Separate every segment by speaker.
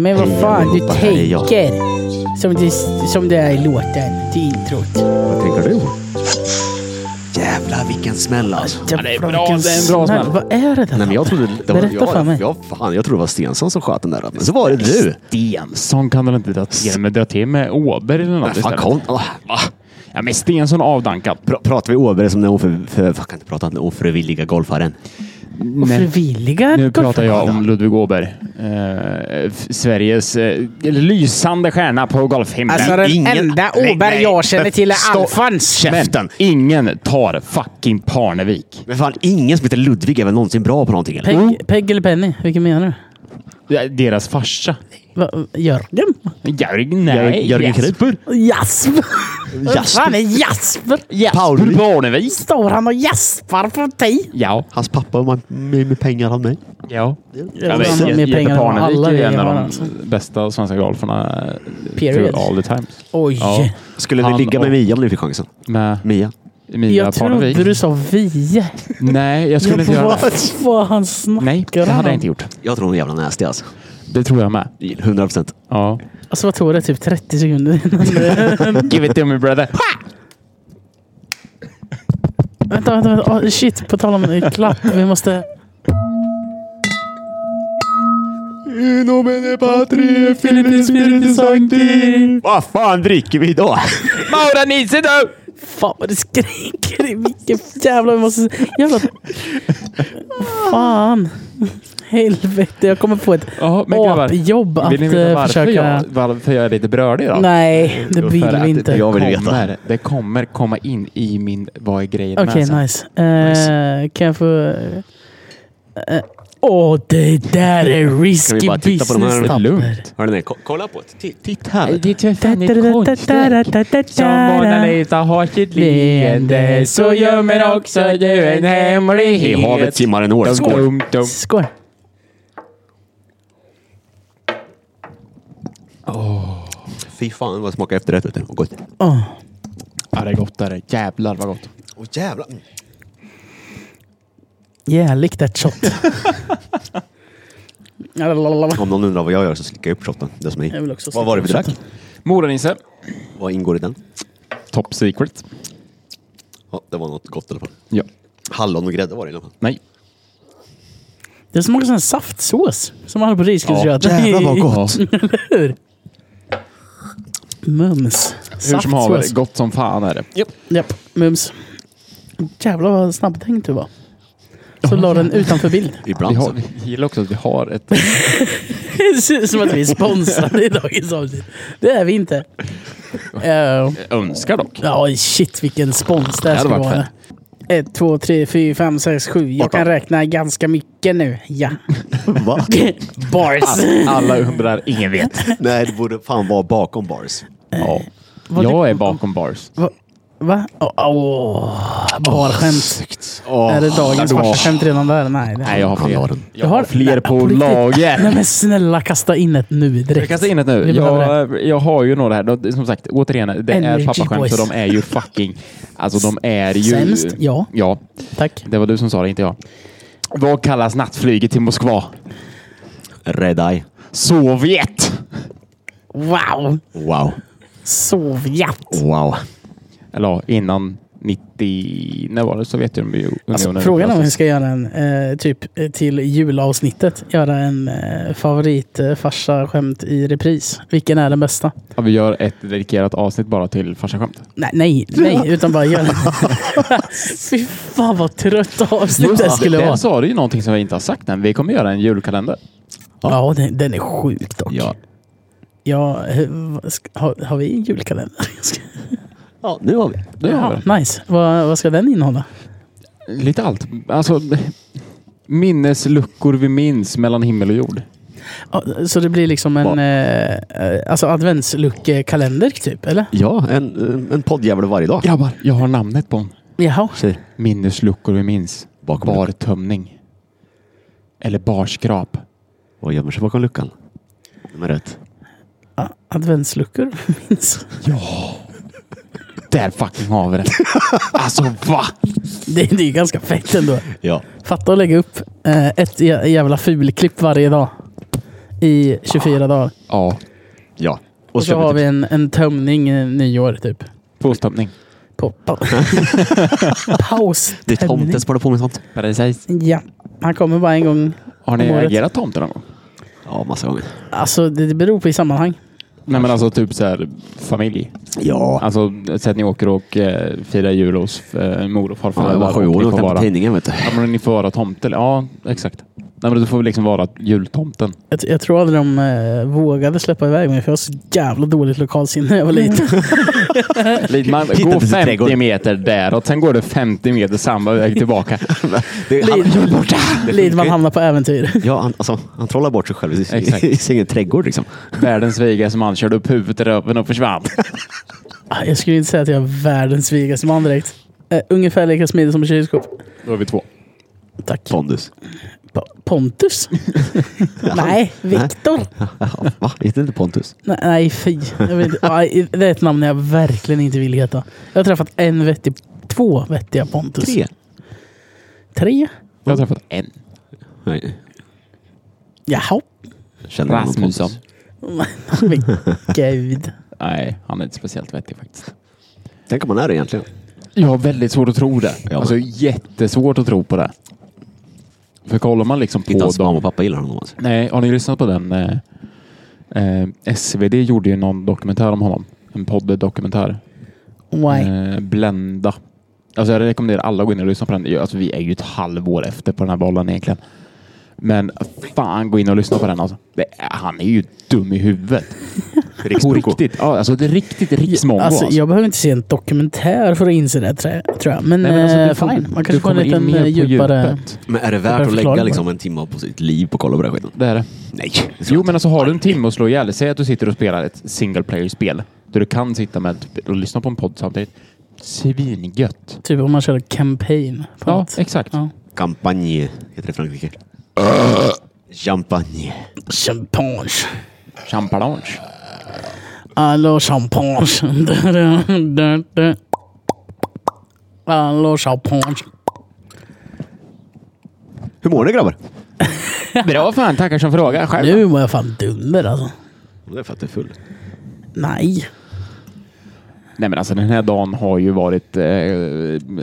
Speaker 1: men vad fan, du
Speaker 2: Allihopa, här är jag.
Speaker 1: tänker. Som det, som det är i låten, till introt.
Speaker 2: Vad tänker du? Jävlar vilken smäll alltså.
Speaker 1: Ja,
Speaker 3: det är bra, det är en bra smäll.
Speaker 1: Vad är det där?
Speaker 2: Nej, men jag trodde det var,
Speaker 1: Berätta
Speaker 2: jag,
Speaker 1: för mig.
Speaker 2: Jag, fan, jag trodde det var Stensson som sköt den där. Men så var det du.
Speaker 3: Stensson kan väl inte dra till med, dra till med Åberg eller något
Speaker 2: Men fan,
Speaker 3: istället?
Speaker 2: kom. Åh,
Speaker 3: Va? Ja, men Stensson avdankad.
Speaker 2: pr- Pratar vi Åberg som den oför, för, jag kan inte prata om den ofrivilliga golfaren?
Speaker 1: Och
Speaker 3: Nej.
Speaker 1: frivilliga
Speaker 3: Nu pratar jag
Speaker 1: golfare.
Speaker 3: om Ludvig Åberg. Eh, f- Sveriges eh, lysande stjärna på golfhimlen.
Speaker 1: Alltså den
Speaker 2: Ingen-
Speaker 1: enda
Speaker 2: Nej,
Speaker 1: Åberg
Speaker 2: nej.
Speaker 1: jag känner till är
Speaker 2: Stopp.
Speaker 1: Alfons.
Speaker 2: Käft.
Speaker 3: Men
Speaker 2: käften.
Speaker 3: ingen tar fucking Parnevik.
Speaker 2: Men fan, ingen som heter Ludvig är väl någonsin bra på någonting? Eller?
Speaker 1: Peg, Peg eller Penny? Vilken menar du?
Speaker 3: Ja, Deras farsa.
Speaker 1: Va, Jörgen?
Speaker 3: Jörgen,
Speaker 2: Jörg-
Speaker 3: nej.
Speaker 2: Jörgen
Speaker 3: Jasper.
Speaker 1: Jasper? Vad
Speaker 2: Jasper.
Speaker 1: fan är Jasper?
Speaker 2: Paulvik.
Speaker 3: Parnevik.
Speaker 1: Står han och jaspar på dig?
Speaker 3: Ja.
Speaker 2: Hans pappa var med med pengar han mig.
Speaker 3: Ja.
Speaker 1: Ja, men
Speaker 3: Jesper
Speaker 1: mer pengar än alla
Speaker 3: Parnevik är en
Speaker 1: vi
Speaker 3: av
Speaker 1: har,
Speaker 3: de
Speaker 1: alltså.
Speaker 3: bästa svenska golfarna. eh,
Speaker 1: Period.
Speaker 3: through All the times.
Speaker 1: Oj.
Speaker 3: Ja.
Speaker 2: Skulle
Speaker 3: Han
Speaker 2: ni ligga med
Speaker 3: och-
Speaker 2: Mia om ni fick chansen?
Speaker 3: Med
Speaker 2: Mia?
Speaker 3: Mia
Speaker 1: Jag trodde
Speaker 3: Parnevik.
Speaker 1: du sa vi.
Speaker 3: Nej, jag skulle inte
Speaker 1: Jag
Speaker 3: göra
Speaker 1: bara,
Speaker 3: det.
Speaker 1: vad fan snackar
Speaker 3: Nej, det hade jag
Speaker 1: han
Speaker 3: inte gjort.
Speaker 2: Jag tror hon är jävla nasty alltså.
Speaker 3: Det tror jag med.
Speaker 2: 100 procent.
Speaker 3: Ja.
Speaker 1: Alltså vad tog det? Typ 30 sekunder innan det...
Speaker 3: Give it to me brother.
Speaker 1: vänta, vänta, vänta. Oh, shit, på tal om eh, klapp. Vi måste...
Speaker 2: Uno mene patrie
Speaker 1: Filippi, Filippi, Sancti.
Speaker 2: Vad fan dricker vi idag?
Speaker 3: Maura Nisse då!
Speaker 1: Fan vad det skriker i micken. Jävlar, vi måste... Jävlar. Fan. Helvete, jag kommer få ett
Speaker 3: Ja, men grabbar.
Speaker 1: apjobb att
Speaker 3: Vill ni veta
Speaker 1: eh,
Speaker 3: varför,
Speaker 1: försöka...
Speaker 3: jag, varför jag är lite brölig idag?
Speaker 1: Nej, det
Speaker 3: Jo,
Speaker 1: vill
Speaker 3: för att
Speaker 1: vi inte.
Speaker 3: Det,
Speaker 2: Jag vill veta.
Speaker 3: kommer, det kommer komma in i min... Vad är grejen
Speaker 1: Okej,
Speaker 3: med sen.
Speaker 1: nice. Eh, Kan jag få... eh, eh, Åh, det där är
Speaker 2: Ska
Speaker 1: risky
Speaker 2: vi bara titta på de här?
Speaker 1: business
Speaker 3: Det är lugnt.
Speaker 2: Hörde ni? ko- Kolla på det. Ti- Titta
Speaker 3: Nej,
Speaker 2: här.
Speaker 3: Det är ju fan ett konstverk. Som Mona Lisa har sitt leende så gömmer också du en hemlighet.
Speaker 2: I havet simmar en ål. Skål.
Speaker 3: Dum, dum.
Speaker 1: Skål.
Speaker 2: Fy fan vad det smakar efterrätt. Vet du. Och gott.
Speaker 1: Åh,
Speaker 3: Ja, det är gott. Det är. Jävlar vad gott.
Speaker 2: Åh jävlar.
Speaker 1: Jävligt ett shot. Lalalala.
Speaker 2: Om någon undrar vad jag gör så slickar jag upp shotten. Det som är
Speaker 1: Jag vill också
Speaker 2: i.
Speaker 1: slicka
Speaker 2: Vad var det vi
Speaker 1: upp
Speaker 2: drack?
Speaker 3: Mora-Nisse.
Speaker 2: Vad ingår i den?
Speaker 3: Top secret.
Speaker 2: Ja, det var något gott i alla fall.
Speaker 3: Ja.
Speaker 2: Hallon och grädde var det i alla fall.
Speaker 3: Nej.
Speaker 1: Det smakar som en saftsås som man har på risgrynsgröten.
Speaker 3: gott.
Speaker 1: Hur? Mums.
Speaker 3: Hur som haver,
Speaker 1: Saftsås.
Speaker 3: gott som fan är det.
Speaker 1: Japp, mums. Jävlar vad snabbtänkt du var. Så la den utanför bild.
Speaker 3: Vi,
Speaker 2: Ibland
Speaker 3: har,
Speaker 2: så.
Speaker 3: vi gillar också att vi har ett... eh,
Speaker 1: Det ser ut som att vi är sponsrade i dagens avsnitt. Det är vi inte. Eh,
Speaker 3: Önskar dock.
Speaker 1: Ja, shit vilken spons det här
Speaker 3: Det
Speaker 1: skulle
Speaker 3: hade varit
Speaker 1: vara. Ett, två, tre, fyra, fem, sex, sju. Jag
Speaker 2: Åtta.
Speaker 1: kan räkna ganska mycket nu. Ja.
Speaker 2: Va?
Speaker 1: Bars.
Speaker 3: Alla undrar, ingen vet.
Speaker 2: Nej, det borde fan vara bakom bars.
Speaker 3: Ja.
Speaker 1: Vad
Speaker 3: Jag är bakom bars.
Speaker 1: Va? Åh, åh, barskämt. Är det dagens
Speaker 3: Åh.
Speaker 1: barskämt redan där? Nej, det
Speaker 3: Nej, jag har
Speaker 2: Han har
Speaker 3: fler.
Speaker 2: den.
Speaker 3: Jag har
Speaker 1: Nej,
Speaker 3: fler på
Speaker 1: riktigt.
Speaker 3: lager.
Speaker 1: Nej men snälla kasta in ett nu direkt.
Speaker 3: Jag kastar in ett nu.
Speaker 1: Vi behöver
Speaker 3: Jag, jag har ju några här. De- Som sagt, återigen, det
Speaker 1: Energy
Speaker 3: är pappaskämt så
Speaker 1: boys.
Speaker 3: de är ju fucking... Alltså de är ju...
Speaker 1: Sämst, ja.
Speaker 3: Ja,
Speaker 1: Tack.
Speaker 3: det var du som sa det, inte jag. Vad kallas nattflyget till Moskva?
Speaker 2: Red Eye.
Speaker 3: Sovjet!
Speaker 1: Wow!
Speaker 2: Wow.
Speaker 1: Sovjet!
Speaker 2: Wow.
Speaker 3: Eller ja, innan 90... När var det Sovjetunionen?
Speaker 1: Alltså, frågan är om vi ska göra en, eh, typ eh, till julavsnittet, göra en eh, favoritfarsa-skämt i repris. Vilken är den bästa?
Speaker 3: Ja, vi gör ett dedikerat avsnitt bara till farsaskämt.
Speaker 1: Nej, nej, nej, utan bara gör Fy fan vad trött avsnitt det skulle
Speaker 3: Där
Speaker 1: vara.
Speaker 3: sa du ju någonting som vi inte har sagt än. Vi kommer göra en julkalender.
Speaker 1: Ja, den, den är sjuk dock.
Speaker 3: Ja.
Speaker 1: Ja, eh, vad ska- har, har vi en julkalender?
Speaker 2: Ja, nu har vi.
Speaker 3: Det har vi.
Speaker 1: Ja, nice. Vad, vad ska den innehålla?
Speaker 3: Lite allt. Alltså, minnesluckor vi minns mellan himmel och jord.
Speaker 1: Ja, Så det blir liksom en
Speaker 2: Vad?
Speaker 1: eh, eh, alltså adventsluckekalender typ, eller?
Speaker 2: Ja, en, en poddjävel varje dag.
Speaker 3: Grabbar, jag har namnet på hon.
Speaker 1: Jaha.
Speaker 2: Tjej.
Speaker 3: Minnesluckor vi minns.
Speaker 2: Bakom luckan.
Speaker 3: Bartömning. Eller barskrap.
Speaker 2: Vad gömmer sig bakom luckan? Nummer ett.
Speaker 1: A- Adventsluckor minns.
Speaker 3: Där fucking har vi det. Alltså va?
Speaker 1: Det, det är ju ganska fett ändå.
Speaker 2: Ja.
Speaker 1: Fatta att lägga upp eh, ett jä- jävla fulklipp varje dag. i 24 dagar.
Speaker 3: Ja.
Speaker 2: Ja.
Speaker 1: Och så
Speaker 2: köper
Speaker 1: har
Speaker 2: typ-
Speaker 1: vi en, en tömning eh, nyår typ.
Speaker 3: Påstoppning.
Speaker 1: På, på. Paus.
Speaker 2: Det är tomten som håller på med sånt.
Speaker 3: Precis.
Speaker 1: Ja. Han kommer bara en gång.
Speaker 3: Har ni
Speaker 1: Om året.
Speaker 3: agerat tomte någon gång?
Speaker 2: Ja, massa gånger.
Speaker 1: Alltså det det beror på i sammanhang.
Speaker 3: Nej men alltså typ så här familj.
Speaker 2: Ja.
Speaker 3: Alltså så att ni åker och eh, firar jul hos eh, mor och farfar.
Speaker 2: ja jag var
Speaker 3: och
Speaker 2: sju år
Speaker 3: ni
Speaker 2: och
Speaker 3: får
Speaker 2: åkte på
Speaker 3: vara,
Speaker 2: tidningen, vet du.
Speaker 3: ja, men ni får vara tomte. eller- Ja, exakt. Nej men du får väl liksom vara jultomten.
Speaker 1: Jag, jag tror aldrig de eh, vågade släppa iväg mig för jag har så jävla dåligt lokalsinne när jag var liten.
Speaker 3: Man
Speaker 2: Hitta
Speaker 3: går
Speaker 2: till sin
Speaker 3: 50
Speaker 2: trädgård.
Speaker 3: meter däråt, sen går det 50 meter samma väg tillbaka.
Speaker 2: Det,
Speaker 1: Lid-
Speaker 2: borta!
Speaker 1: Lidman hamnar på äventyr.
Speaker 2: Ja, han, alltså, han trollar bort sig själv i sin-
Speaker 3: Exakt.
Speaker 2: i sin egen trädgård liksom.
Speaker 3: Världens vigaste man körde upp huvudet i röven och försvann.
Speaker 1: Ah, Jag skulle inte säga att jag är världens vigaste man direkt. Eh, ungefär lika smidig som ett kylskåp.
Speaker 3: Då är vi två.
Speaker 1: Tack.
Speaker 2: Pondus.
Speaker 1: Po- Pontus? Nej, Viktor.
Speaker 2: Jaha, Va? Heter inte Pontus?
Speaker 1: Nej, nej fy. Jag vet, inte. Ja, det är ett namn jag verkligen inte vill heta. Jag har träffat en vettig, två vettiga Pontus.
Speaker 2: Tre?
Speaker 1: Tre?
Speaker 3: Jag har träffat en.
Speaker 2: Nej.
Speaker 1: Jaha.
Speaker 2: Känner honom,
Speaker 3: Rasmusson.
Speaker 2: Pontus.
Speaker 1: Men gud.
Speaker 3: Nej, han är inte speciellt vettig faktiskt.
Speaker 2: Tänk om han är det egentligen.
Speaker 3: Jag har väldigt svårt att tro det.
Speaker 2: Ja.
Speaker 3: Alltså jättesvårt att tro på det. För kollar man liksom
Speaker 2: Inte
Speaker 3: på
Speaker 2: hans mamma
Speaker 3: dem.
Speaker 2: och pappa gillar honom. Alltså.
Speaker 3: Nej, har ni lyssnat på den? Eh, eh, SvD gjorde ju någon dokumentär om honom. En podd-dokumentär.
Speaker 1: Why?
Speaker 3: Eh, Blenda. Alltså jag rekommenderar alla att gå in och lyssna på den. Alltså vi är ju ett halvår efter på den här bollen egentligen. Men fan, gå in och lyssna på den alltså. Det, är- han är ju dum i huvudet. På riktigt. Ja, alltså det är riktigt riksmongo. Alltså,
Speaker 1: Alltså, jag behöver inte se en dokumentär för att inse det trä- tror jag. Men,
Speaker 3: Nej, men alltså,
Speaker 1: eh,
Speaker 3: du får-
Speaker 1: fine, man
Speaker 3: du
Speaker 1: kanske får en
Speaker 3: kommer in
Speaker 1: liten
Speaker 3: mer
Speaker 1: eh,
Speaker 3: på
Speaker 1: djupare...
Speaker 3: djupet.
Speaker 2: Men är det
Speaker 1: Jag
Speaker 2: värt
Speaker 1: kan
Speaker 2: att
Speaker 1: förklara mig.
Speaker 2: lägga liksom, en timme på sitt liv på att kolla på den här skiten?
Speaker 3: Det är det.
Speaker 2: Nej.
Speaker 3: Jo, men alltså har du en timme att slå ihjäl Säg att du sitter och spelar ett single player-spel. Där du kan sitta med typ, och lyssna på en podd samtidigt. Svingött.
Speaker 1: Typ om man körde campaign. På
Speaker 3: Ja,
Speaker 1: något.
Speaker 3: exakt.
Speaker 1: Ja.
Speaker 2: Campagne heter det i Frankrike. Äh. Champagne.
Speaker 1: Champagne.
Speaker 3: Champagne.
Speaker 1: Allô champagne. Du, du, du, du. Allô champagne.
Speaker 2: Hur mår ni grabbar?
Speaker 3: Bra fan, tackar som frågar. Själv.
Speaker 1: Nu mår jag fan dunder alltså.
Speaker 2: Det är för att du är full.
Speaker 1: Nej.
Speaker 3: Nej men alltså den här dagen har ju varit eh,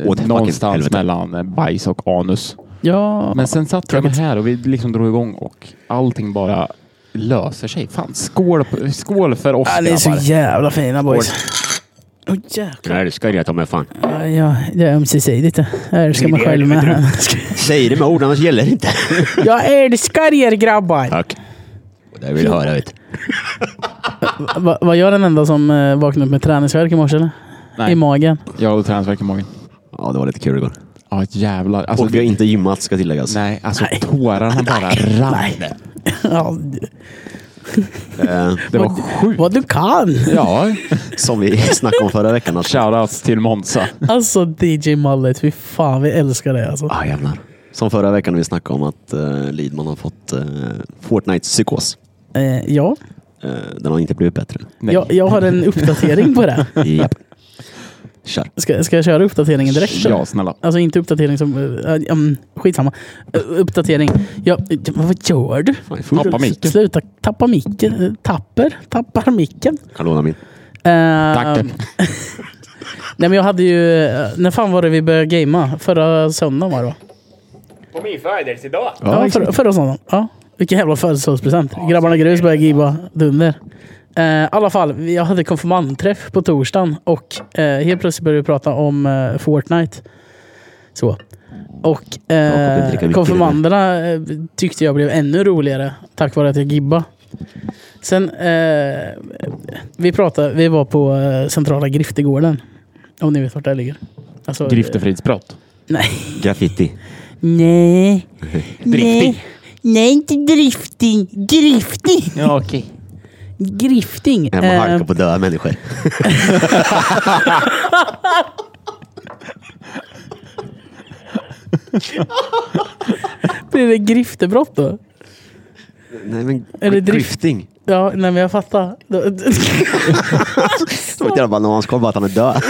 Speaker 2: fucking
Speaker 3: någonstans
Speaker 2: helvete.
Speaker 3: mellan eh, bajs och anus.
Speaker 1: Ja,
Speaker 3: Men sen satt jag med här och vi liksom drog igång och allting bara löser sig. Fan, skål, på- skål för oss
Speaker 1: ja, ni är så
Speaker 3: grabbar.
Speaker 1: jävla fina boys. Åh jäklar.
Speaker 2: Jag älskar det ta mig fan.
Speaker 1: Ja, Ja, det är ömsesidigt. det. Jag älskar mig själv med.
Speaker 2: Säg det med ord, annars gäller det inte.
Speaker 1: Jag älskar er grabbar!
Speaker 2: Tack. Det vill jag höra vet
Speaker 1: Va, var jag den enda som eh, vaknade upp med träningsvärk i morse eller?
Speaker 3: Nej.
Speaker 1: I magen.
Speaker 3: Jag hade träningsvärk i magen.
Speaker 2: Ja, det var lite kul igår.
Speaker 3: Ja jävlar. Alltså,
Speaker 2: och vi har inte gymmat ska tilläggas.
Speaker 3: Nej, alltså tårarna bara rann.
Speaker 1: Ja,
Speaker 2: Eh,
Speaker 3: Det var sjukt.
Speaker 1: vad du kan!
Speaker 3: Ja,
Speaker 2: som vi snackade om förra veckan. Att...
Speaker 3: shoutouts till Monza.
Speaker 1: Alltså DJ Mallet, fy fan vi älskar det alltså.
Speaker 2: Ah, jävlar. Som förra veckan när vi snackade om att eh, Lidman har fått eh, Fortnite-psykos.
Speaker 1: Eh, ja,
Speaker 2: Eh, den har inte blivit bättre.
Speaker 3: Nej.
Speaker 1: jag, jag har en uppdatering på det.
Speaker 2: Japp. Kör.
Speaker 1: Ska, ska jag köra uppdateringen direkt? eller?
Speaker 3: Ja, snälla.
Speaker 1: Alltså inte uppdatering som... eh, eh, um, skitsamma. Eh, uppdatering. Ja, eh, vad gör du?
Speaker 2: Fan, jag är full.
Speaker 3: Tappa micken.
Speaker 1: Sluta tappa micken. Eh, Tapper? Tappar micken?
Speaker 2: Kan låna min.
Speaker 1: Eh,
Speaker 3: Tack.
Speaker 1: Nej men jag hade ju... eh, När fan var det vi började gamea? Förra söndagen var det va?
Speaker 4: På min födelsedag.
Speaker 1: Ja, förra, förra söndagen. Ja. Vilken jävla födelsedagspresent. Grabbarna Grus börjar gibba dunder. Eh, I alla fall, vi- jag hade konfirmandträff på torsdagen och eh, helt plötsligt började vi prata om eh, Fortnite. Så. Och
Speaker 2: kommer inte
Speaker 1: eh,
Speaker 2: dricka mycket
Speaker 1: konfirmanderna eh, tyckte jag blev ännu roligare tack vare att jag gibba. Sen, eh, vi pratade, vi var på eh, centrala Griftegården. Om ni vet vart det ligger. Alltså,
Speaker 3: Griftefridsbrott.
Speaker 1: Nej.
Speaker 2: Graffiti.
Speaker 1: Nej.
Speaker 3: Drifting.
Speaker 1: Nej. Nej, inte drifting. Grifting.
Speaker 3: Ja, okej.
Speaker 1: Grifting.
Speaker 2: Man
Speaker 1: Eh,
Speaker 2: halkar på döda människor.
Speaker 1: blir det griftebrott då?
Speaker 2: Nej men,
Speaker 1: Är det drift-
Speaker 2: drifting.
Speaker 1: Ja, nej men jag fattar.
Speaker 2: Det var ett jävla bananskal bara att han är död.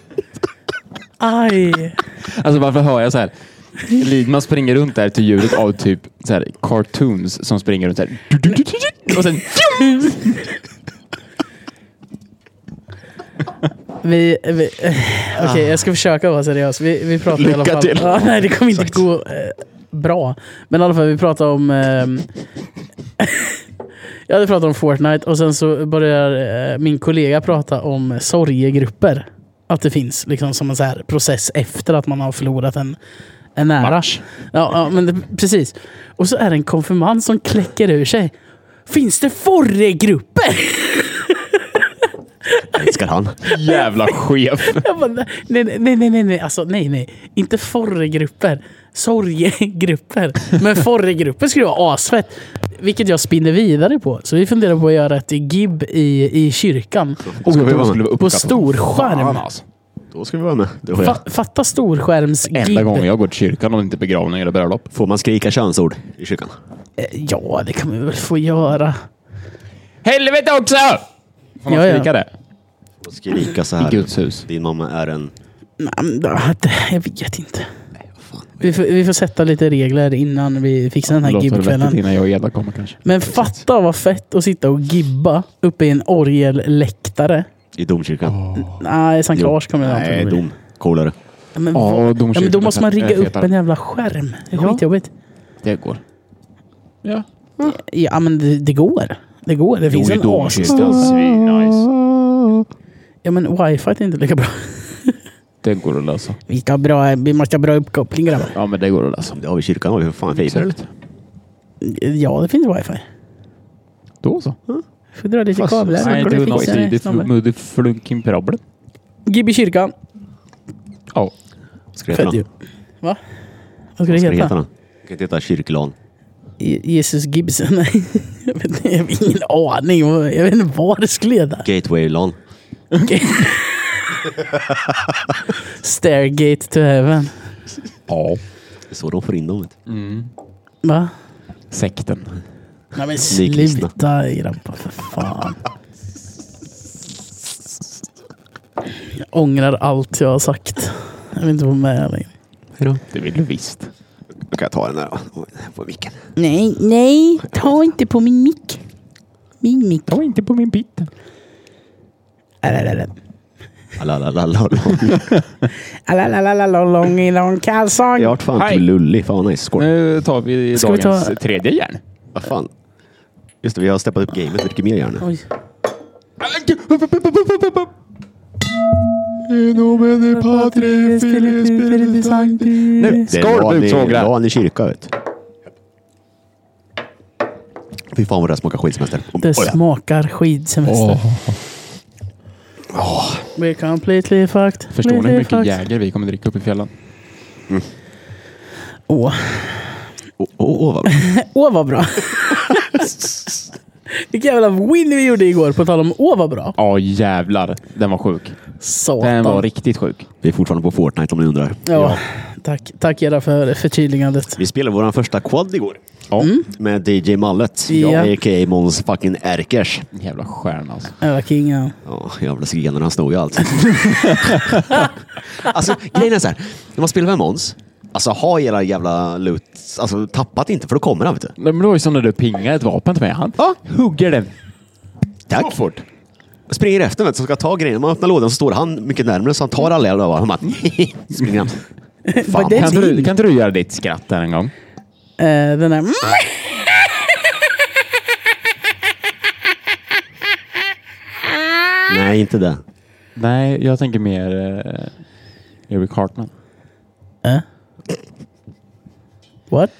Speaker 1: Aj.
Speaker 3: Alltså varför hör jag så här? Lidman springer runt där till ljudet av typ så här, cartoons som springer runt så här. Du, du, du, du, du. Och sen...
Speaker 1: Vi, vi, eh, Okej, jag ska försöka vara seriös. Vi, vi pratar i alla
Speaker 3: Lycka
Speaker 1: fall...
Speaker 3: till.
Speaker 1: Ja, nej, det kommer inte gå eh, bra. Men i alla fall, vi pratar om... ehm, jag hade pratat om Fortnite och sen så börjar eh, min kollega prata om sorgegrupper. Att det finns liksom som en så här process efter att man har förlorat en, en nära.
Speaker 3: Match.
Speaker 1: Ja, ja men det, precis. Och så är det en konfirmand som kläcker ur sig. Finns det forregrupper?
Speaker 2: Älskar han.
Speaker 3: Jävla chef.
Speaker 1: Jag bara, nej, nej, nej, nej, nej, nej, alltså nej, nej. Inte forregrupper. Sorgegrupper. Men forregrupper skulle vara asfett. Vilket jag spinner vidare på. Så vi funderar på att göra ett gib i, i kyrkan.
Speaker 2: Ska vi vara med?
Speaker 3: vara
Speaker 1: På
Speaker 3: uppskattat.
Speaker 1: stor
Speaker 3: Fan,
Speaker 1: skärm.
Speaker 3: alltså.
Speaker 2: Då ska vi vara med. Det var jag.
Speaker 1: Fa, fatta storskärms
Speaker 3: Enda gången
Speaker 1: gib.
Speaker 3: jag går till kyrkan om det inte är begravning eller bröllop.
Speaker 2: Får man skrika könsord i kyrkan?
Speaker 1: Eh, Ja, det kan vi väl få göra.
Speaker 3: Helvete också! Får man
Speaker 1: Ja, ja.
Speaker 3: skrika det?
Speaker 2: Får skrika så
Speaker 3: I
Speaker 2: här.
Speaker 3: Guds hus.
Speaker 2: Din mamma är en...
Speaker 1: Nej, men det- Jag vet inte. Vi får, vi får sätta lite regler innan vi fixar den här
Speaker 3: Låter det vettigt
Speaker 1: gibkvällen.
Speaker 3: innan jag och Edvard kommer kanske.
Speaker 1: Men fatta vad fett att sitta och gibba uppe i en orgelläktare.
Speaker 2: I domkyrkan.
Speaker 1: Nej, Sankt
Speaker 2: Jo.
Speaker 1: Lars kommer jag
Speaker 2: Nej,
Speaker 1: antagligen
Speaker 2: dom. Coolare.
Speaker 1: Ja, men,
Speaker 3: Ja,
Speaker 1: vad-
Speaker 3: och
Speaker 1: ja, men då måste man rigga
Speaker 3: är
Speaker 1: upp
Speaker 3: fetare.
Speaker 1: en jävla skärm. Det är
Speaker 3: Ja.
Speaker 1: skitjobbigt.
Speaker 3: Det går. Ja.
Speaker 1: Ja, men det, det går. Det går. Det finns
Speaker 3: i
Speaker 1: en
Speaker 3: domkyrkan.
Speaker 1: asstol.
Speaker 4: Svinnice.
Speaker 1: Ja, men wifi är inte lika bra.
Speaker 3: Det går att lösa.
Speaker 1: Vi, ska ha bra, vi måste ha bra uppkoppling grabbar.
Speaker 3: Ja, men det går att lösa.
Speaker 2: Det har vi i kyrkan. Har vi för fan fiber eller?
Speaker 1: Ja, det finns wifi.
Speaker 3: Då så.
Speaker 1: Vi får dra lite kablar.
Speaker 3: Nej,
Speaker 1: Det
Speaker 3: du
Speaker 1: finns en snubbe.
Speaker 3: är flunking problem.
Speaker 1: Gib i kyrkan.
Speaker 3: Ja.
Speaker 2: Vad ska det heta
Speaker 1: Fett
Speaker 2: då?
Speaker 1: ju.
Speaker 2: Vad
Speaker 1: Va? Vad ska det
Speaker 2: ska det heta
Speaker 1: heta?
Speaker 2: då? Det kan inte heta kyrklan.
Speaker 1: Je- Jesus Gibson? Nej, jag vet inte. Jag har ingen aning. Jag vet inte var det skulle heta.
Speaker 2: Gatewaylan.
Speaker 1: Stairgate to heaven.
Speaker 3: Ja.
Speaker 2: Det är så de får in dem. vet du.
Speaker 1: Va?
Speaker 3: Sekten.
Speaker 1: Nej men
Speaker 2: Nykristna.
Speaker 1: sluta grabbar för fan. Jag ångrar allt jag har sagt. Jag vill inte vara med längre.
Speaker 3: Det vill du visst.
Speaker 2: Då kan jag ta den där då. Oj, På micken.
Speaker 1: Nej, nej. Ta inte på min mick. Min mick.
Speaker 3: Ta inte på min bit.
Speaker 2: Alalalalala.
Speaker 1: Lång i lång kalsong.
Speaker 2: Jag vart fan
Speaker 3: Hej.
Speaker 2: typ lullig. Fan vad nice. Skål.
Speaker 3: Nu tar vi
Speaker 1: Ska vi ta-
Speaker 3: dagens tredje järn.
Speaker 2: Vad fan. Just det, vi har steppat upp gamet mycket mer gärna.
Speaker 1: Oj.
Speaker 3: Nu,
Speaker 2: Det är
Speaker 3: skål buksåglar!
Speaker 2: Lan i kyrka vet du. Fy fan vad det här smakar skitsemester. Om-
Speaker 1: Det
Speaker 2: oj, ja.
Speaker 1: smakar skidsemester. We're completely fucked.
Speaker 3: Förstår ni hur
Speaker 1: Completely
Speaker 3: mycket
Speaker 1: fucked.
Speaker 3: Jäger vi kommer dricka upp i fjällen?
Speaker 1: Åh,
Speaker 2: Åh, åh, åh, vad bra.
Speaker 1: Åh, vad bra. Vilken jävla win vi gjorde igår på tal om åh vad bra.
Speaker 3: Ja jävlar, den var sjuk.
Speaker 1: Satan.
Speaker 3: Den var riktigt sjuk.
Speaker 2: Vi är fortfarande på Fortnite om ni undrar.
Speaker 1: Ja, tack, tack era för förtydligandet.
Speaker 2: Vi spelade vår första quad igår. Mm.
Speaker 3: Ja.
Speaker 2: Med DJ Mallet.
Speaker 1: Ja.
Speaker 2: Ja. A.k.a. Måns fucking Erkers.
Speaker 3: Jävla stjärna alltså.
Speaker 1: Öva kingen.
Speaker 2: Ja, jävla zigenaren, han snor ju allt. alltså, grejen är så här. När man spelar med Måns, alltså ha era jävla loot, alltså tappat inte för då kommer han vet du.
Speaker 3: Nej, Men det var ju som när du pingade ett vapen till mig. Han
Speaker 2: Ja.
Speaker 3: hugger den.
Speaker 2: Tack. Fort. Springer efter vet du, så ska ta grejerna. Man öppnar lådan så står han mycket närmare så han tar alla jävla övar. Han bara springer han. Fan.
Speaker 1: But that's
Speaker 3: Kan inte du,
Speaker 1: him.
Speaker 3: kan inte du göra ditt skratt där en gång?
Speaker 1: Eh, den där...
Speaker 2: Nej, inte det.
Speaker 3: Nej, jag tänker mer eh, Eric Hartman.
Speaker 1: Eh? What?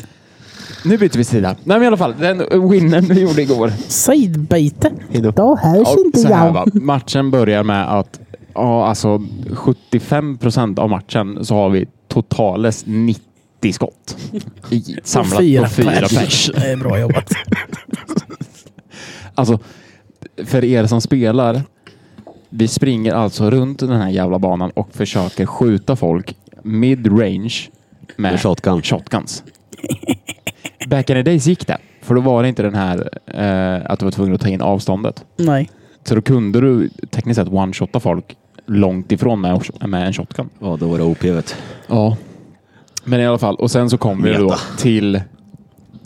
Speaker 3: Nu byter vi sida. Nej men i alla fall, den winnen vi gjorde igår.
Speaker 1: Sidebite.
Speaker 2: Hejdå.
Speaker 1: Då hörs
Speaker 3: Ja, så här va. Matchen börjar med att ja, alltså 75 procent av matchen så har vi totales 90 skott. I, samlat på fyra pers.
Speaker 1: Det är bra jobbat.
Speaker 3: Alltså, för er som spelar. Vi springer alltså runt den här jävla banan och försöker skjuta folk mid-range med,
Speaker 2: Med shotgun.
Speaker 3: shotguns. Back in the days gick det. För då var det inte den här eh, att du var tvungen att ta in avståndet.
Speaker 1: Nej.
Speaker 3: Så då kunde du tekniskt sett one-shotta folk långt ifrån med, med en shotgun.
Speaker 2: Ja, då var det OP vet
Speaker 3: Ja. Men i alla fall, och sen så kom vi då
Speaker 2: Meta.
Speaker 3: till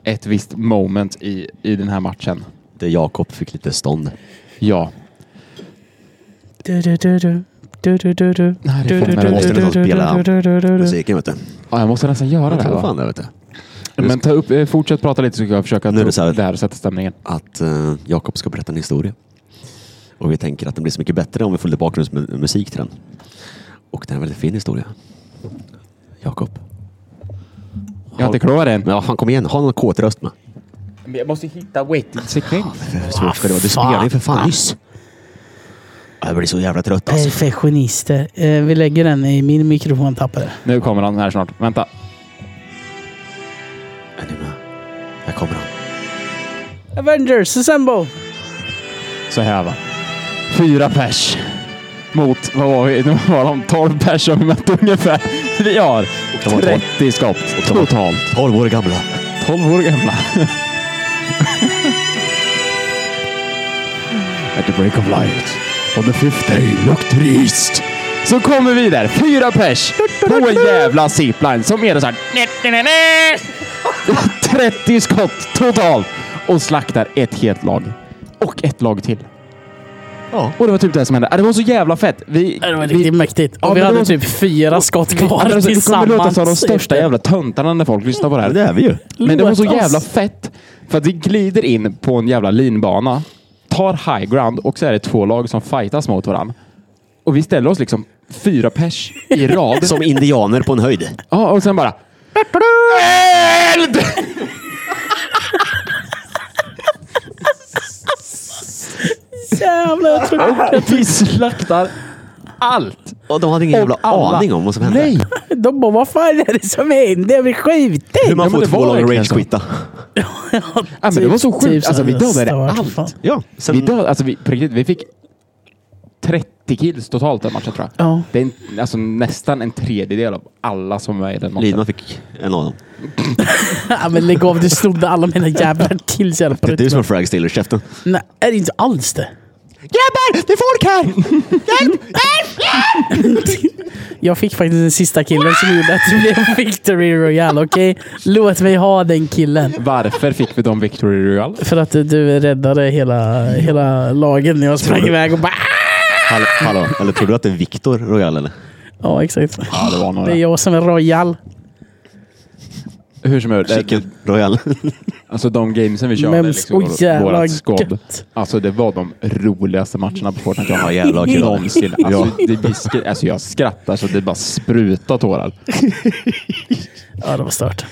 Speaker 3: ett visst moment i, i den här matchen.
Speaker 2: Där Jakob fick lite stånd.
Speaker 3: Ja.
Speaker 1: Du, du, du, du. Du, du, du, du.
Speaker 3: Nej, det
Speaker 1: Du,
Speaker 3: är
Speaker 1: du, du,
Speaker 3: fan,
Speaker 2: måste
Speaker 3: jag, måste,
Speaker 1: du,
Speaker 2: nästan
Speaker 1: du,
Speaker 2: spela
Speaker 1: du, du, du, du, du.
Speaker 2: Musiken vet du.
Speaker 3: ja, jag måste nästan göra det
Speaker 2: Jag
Speaker 3: här.
Speaker 2: tror
Speaker 3: Va?
Speaker 2: fan det vet du.
Speaker 3: Men ta upp, eh, fortsätt prata lite så ska jag försöka
Speaker 2: Nu är
Speaker 3: ta
Speaker 2: det
Speaker 3: upp
Speaker 2: så här.
Speaker 3: det här och sätta stämningen.
Speaker 2: Att eh, Jakob ska berätta en historia. Och vi tänker att den blir så mycket bättre om vi får lite bakgrundsmusik till den. Och det är en väldigt fin historia. Jakob.
Speaker 3: Jag är inte klar än.
Speaker 2: Men ja, fan kom igen, ha någon kåt röst med.
Speaker 3: Men jag måste hitta waiting sekvens.
Speaker 2: Hur svårt ska det vara? Du spelar ju för Ah, fan nyss. Jag blir så jävla trött alltså.
Speaker 1: Perfektionister. Eh, vi lägger den i min mikrofontappare.
Speaker 3: Nu kommer han här snart. Vänta.
Speaker 2: Är ni med? Här kommer han.
Speaker 1: Avengers Assemble!
Speaker 3: Så här va. Fyra pers. Mot, vad var vi? Nu var de 12 pers som vi mötte ungefär. Vi har
Speaker 2: de var
Speaker 3: 30 skott
Speaker 2: de var-
Speaker 3: totalt.
Speaker 2: 12 år gamla.
Speaker 3: 12 år gamla. At the break of light, on the fifth day, look trist. Så kommer vi där, fyra pers, på en jävla zipline som är det så här... 30 skott totalt och slaktar ett helt lag. Och ett lag till.
Speaker 2: Ja.
Speaker 3: Och det var typ det här som hände. Ah, Det var så jävla fett. Vi,
Speaker 1: Det var
Speaker 3: vi,
Speaker 1: riktigt mäktigt.
Speaker 3: Ja,
Speaker 1: Och vi
Speaker 3: men det
Speaker 1: hade
Speaker 3: var-
Speaker 1: typ fyra skott
Speaker 3: Ja, men
Speaker 1: kvar
Speaker 3: alltså, det kommer låta
Speaker 1: tillsammans.
Speaker 3: som de största jävla töntarna när folk lyssnar på det här.
Speaker 2: Ja, det är vi ju.
Speaker 3: Men det var så
Speaker 1: Låt oss.
Speaker 3: jävla fett. För att vi glider in på en jävla linbana, tar high ground och så är det två lag som fightas mot varandra. Och vi ställer oss liksom fyra pers i rad.
Speaker 2: Som indianer på en höjd.
Speaker 3: Ja, och sen bara... Eld!
Speaker 1: Jävlar, jag tror
Speaker 3: Vi slaktar allt.
Speaker 2: Och de hade ingen jävla
Speaker 3: alla.
Speaker 2: aning om vad som hände.
Speaker 3: Nej!
Speaker 1: De bara, vad fan är det som händer? Jag blir
Speaker 2: Hur
Speaker 1: skjuten!
Speaker 2: man
Speaker 3: Ja, men
Speaker 2: får
Speaker 3: det
Speaker 2: två
Speaker 3: var
Speaker 2: lag
Speaker 3: verkligen
Speaker 2: rage
Speaker 3: så.
Speaker 2: skita.
Speaker 3: Ja, men det var så
Speaker 1: Typ
Speaker 3: sjukt. Alltså, vi dödade allt.
Speaker 2: Ja,
Speaker 3: Vi,
Speaker 2: sen,
Speaker 3: dödade, alltså, vi, på riktigt, vi fick 30 kills totalt den matchen tror jag.
Speaker 1: Ja.
Speaker 3: Det är en, alltså, nästan en tredjedel av alla som var i den matchen.
Speaker 2: Lidman fick en av dem.
Speaker 1: Ja, men lägg av, du snodde alla mina jävla kills. Jävla
Speaker 2: Det är du som är frag stealer, käften.
Speaker 1: Nej, är det inte alls det?
Speaker 3: Grabbar! Det är folk här!
Speaker 1: Jag fick faktiskt den sista killen som gjorde att det blev Victory Royale, okej? Låt mig ha den killen.
Speaker 3: Varför fick vi dem Victory Royale?
Speaker 1: För att du räddade hela, hela lagen när jag sprang iväg och bara "Ah!"
Speaker 2: Hallå, hallå, eller tror du att det är Viktor Royal eller?
Speaker 1: Ja, exakt.
Speaker 3: Ja, det var några.
Speaker 1: Det är jag som är Royal.
Speaker 3: Hur som helst, det-
Speaker 2: Chicken Royal.
Speaker 3: alltså de gamesen vi körde,
Speaker 1: Men
Speaker 3: liksom,
Speaker 1: så jävla
Speaker 3: vårat skåd.
Speaker 1: gött.
Speaker 3: Alltså det var de roligaste matcherna på Fortnite jag har
Speaker 2: Ja,
Speaker 3: gjort
Speaker 2: jävlar killar.
Speaker 3: någonsin. Alltså, det, vi skri- alltså jag skrattar så det bara sprutar tårar.
Speaker 1: Ja, det var stört.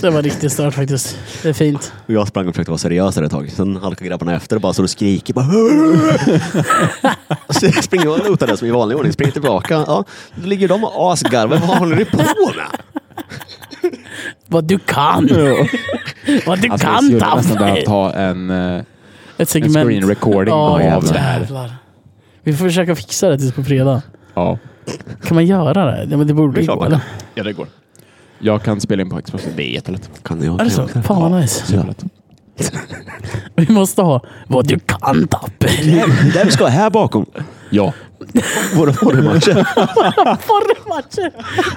Speaker 1: Det var riktigt stört faktiskt. Det är fint.
Speaker 2: Och jag sprang och försökte vara seriös där ett tag. Sen halkade grabbarna efter och bara så och skriker. Bara, så jag springer och lotar det som i vanlig ordning. Springer tillbaka. Ja, då ligger de och asgarvar. Vad håller du på med?
Speaker 1: Vad du kan! Vad du
Speaker 3: Alltså, jag
Speaker 1: kan,
Speaker 3: skulle nästan
Speaker 1: Tampa!
Speaker 3: behöva ta en... eh,
Speaker 1: Ett segment.
Speaker 3: en screen recording
Speaker 1: Ja,
Speaker 3: av
Speaker 1: jävlar.
Speaker 3: det här.
Speaker 1: Vi får försöka fixa det tills på fredag.
Speaker 3: Ja.
Speaker 1: Kan man göra det? Ja, men det borde
Speaker 2: är
Speaker 1: ju
Speaker 2: klart
Speaker 1: gå,
Speaker 2: man
Speaker 1: eller?
Speaker 3: ja, det går. Jag kan spela in på Xbox. Det är jättelätt.
Speaker 2: Kan jag
Speaker 1: Är det så? Fan vad nice.
Speaker 3: Superlätt.
Speaker 1: Vi måste ha vad du kan Tapper.
Speaker 2: Det där vi ska här bakom.
Speaker 3: Ja.
Speaker 2: Våra porrmatcher.
Speaker 1: Porrmatcher!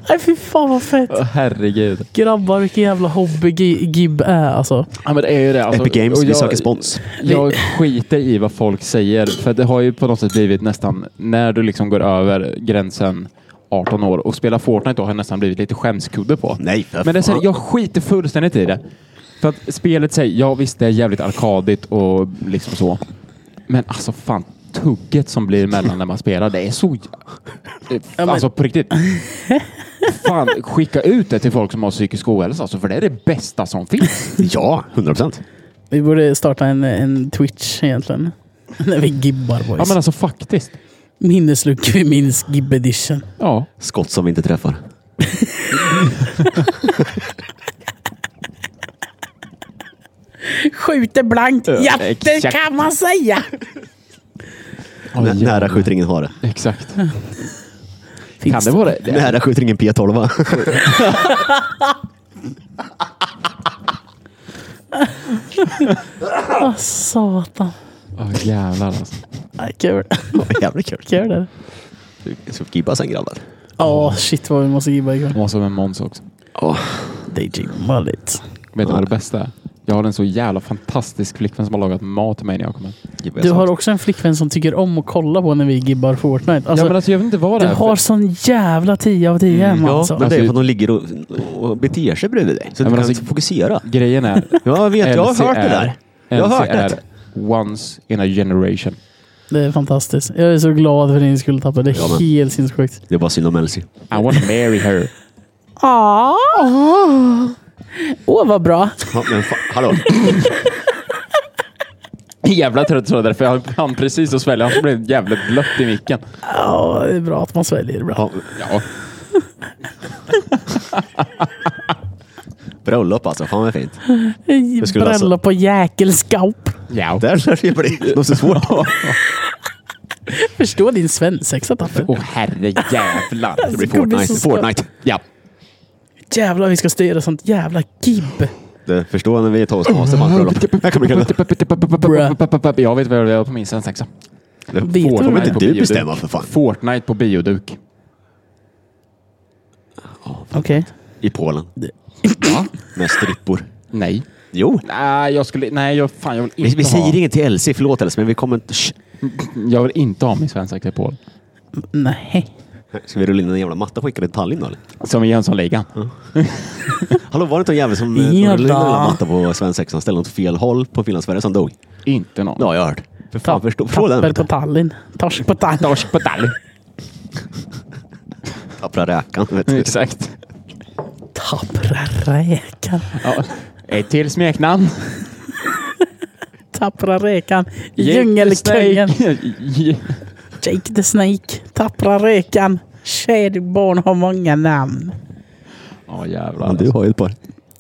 Speaker 1: Nej fy fan vad fett.
Speaker 3: Åh, Herregud.
Speaker 1: Grabbar vilken jävla hobby Gi- Gib är alltså.
Speaker 3: Ja, men det är ju det. Alltså,
Speaker 2: Epic Games,
Speaker 3: och
Speaker 2: vi
Speaker 3: jag-
Speaker 2: söker spons.
Speaker 3: Jag skiter i vad folk säger, för det har ju på något sätt blivit nästan, när du liksom går över gränsen 18 år och spelar Fortnite då har det nästan blivit lite skämskudde på.
Speaker 2: Nej, för
Speaker 3: Men det är så här,
Speaker 2: fan.
Speaker 3: jag skiter fullständigt i det. För att spelet säger, ja visst det är jävligt arkadigt och liksom så. Men alltså fan, tugget som blir mellan när man spelar, det är så... jä-
Speaker 1: men-
Speaker 3: Alltså på riktigt. Fan, skicka ut det till folk som har psykisk ohälsa, alltså, för det är det bästa som finns.
Speaker 2: Ja, 100 procent.
Speaker 1: Vi borde starta en, en Twitch egentligen. När vi gibbar boys.
Speaker 3: Ja men alltså faktiskt.
Speaker 1: Minneslucka vi minns Gib edition.
Speaker 3: Ja.
Speaker 2: Skott som vi inte träffar.
Speaker 1: Skjuter blankt. Jätte
Speaker 3: exakt.
Speaker 1: kan man säga.
Speaker 2: Nä, nära skjuter ingen hare.
Speaker 3: Exakt. Kan
Speaker 1: Finns
Speaker 3: det vara det? det?
Speaker 2: Nära skjuter ingen P12. va?
Speaker 1: Åh, satan.
Speaker 3: Åh, jävlar alltså.
Speaker 1: Nej, kul.
Speaker 2: Jävligt kul.
Speaker 1: Kul är det.
Speaker 2: Jag ska gibba sen grabbar.
Speaker 1: Ja shit vad vi måste gibba ikväll.
Speaker 3: Det var som en Måns också.
Speaker 1: They do mullet.
Speaker 3: Vet du vad det bästa är? Jag har en så jävla fantastisk flickvän som har lagat mat till mig när jag kom hem.
Speaker 1: Du har också en flickvän som tycker om att kolla på när vi gibbar Fortnite. Alltså,
Speaker 3: ja, men alltså, jag vet inte vad det
Speaker 1: du
Speaker 3: är. för-
Speaker 1: har sån jävla 10 av 10 hemma
Speaker 2: Mm, Ja,
Speaker 1: alltså.
Speaker 2: men det är
Speaker 3: Alltså-
Speaker 2: för att de ligger och, och beter sig bredvid dig. Så du
Speaker 3: Ja, men
Speaker 2: kan
Speaker 3: alltså-
Speaker 2: inte fokusera.
Speaker 3: Grejen är...
Speaker 2: Ja, jag vet. Jag har
Speaker 3: LCR,
Speaker 2: hört det där. Jag har hört det.
Speaker 3: LCR, Once in a generation.
Speaker 1: Det är fantastiskt. Jag är så glad för din skull Tapper. Det är
Speaker 2: Ja, men-
Speaker 1: helt sinnessjukt.
Speaker 2: Det är bara synd om Elsie.
Speaker 3: I want to marry her.
Speaker 1: Åh, Åh, vad bra.
Speaker 2: Ja, men fan, hallå.
Speaker 3: Jävla trött tror jag därför jag hann precis att svälja. Han blev jävligt blött i micken.
Speaker 1: Ja, det är bra att man sväljer ibland.
Speaker 2: Ja,
Speaker 3: Ja.
Speaker 2: bröllop alltså. Fan vad fint. skulle
Speaker 1: Bröllop
Speaker 2: alltså-
Speaker 1: på jäkelskap.
Speaker 3: Ja.
Speaker 2: Där lär det bli något så svårt.
Speaker 1: Förstå din svensexa Tapper.
Speaker 3: Åh herre jävlar.
Speaker 2: Det blir
Speaker 1: Det kommer bli
Speaker 2: Fortnite.
Speaker 1: så svårt.
Speaker 2: Fortnite.
Speaker 3: Ja.
Speaker 1: Jävlar vi ska styra sånt jävla gibb.
Speaker 2: Du förstår när vi är toastmaster man bröllop. Här kommer killen.
Speaker 3: Jag vet vad jag gör på min svensexa.
Speaker 1: Vet du
Speaker 2: Det
Speaker 1: vad
Speaker 2: kommer
Speaker 1: det är?
Speaker 2: inte du bestämma för fan.
Speaker 3: Fortnite på bioduk.
Speaker 1: Okej.
Speaker 2: I Polen. Med strippor.
Speaker 3: Nej.
Speaker 2: Jo.
Speaker 3: Nej, jag skulle... Nej, jag, fan, jag vill inte
Speaker 2: Vi, vi
Speaker 3: ha...
Speaker 2: säger inget till Elsie. Förlåt Elsie, men vi kommer inte... Shh.
Speaker 3: Jag vill inte ha min svensexa i Polen.
Speaker 1: Nej.
Speaker 2: Ska vi rulla in en jävla matta och skicka den till Tallinn då eller?
Speaker 3: Som i Jönssonligan.
Speaker 2: Hallå, var det inte en jävel som eh,
Speaker 1: Jada.
Speaker 2: rullade in en jävla matta på svensexan ställde åt fel håll på Finland-Sverige som dog?
Speaker 3: Inte någon.
Speaker 2: Ja, jag har hört. För fan, förstå, förstå den.
Speaker 1: Tapper
Speaker 2: vet
Speaker 1: på
Speaker 2: du.
Speaker 1: Tallinn. Torsk på Tallinn.
Speaker 3: Torsk på tall.
Speaker 2: Tappra räkan. Vet du.
Speaker 3: Exakt.
Speaker 1: Tappra räkan.
Speaker 3: Ja. Ett till smeknamn.
Speaker 1: Tappra räkan.
Speaker 3: Jake
Speaker 1: Djungelkungen.
Speaker 3: Snake.
Speaker 1: Jake the Snake. Tappra räkan. Tjäderbarn har många namn.
Speaker 3: Ja jävlar.
Speaker 2: Men du
Speaker 3: alltså.
Speaker 2: har ju ett par.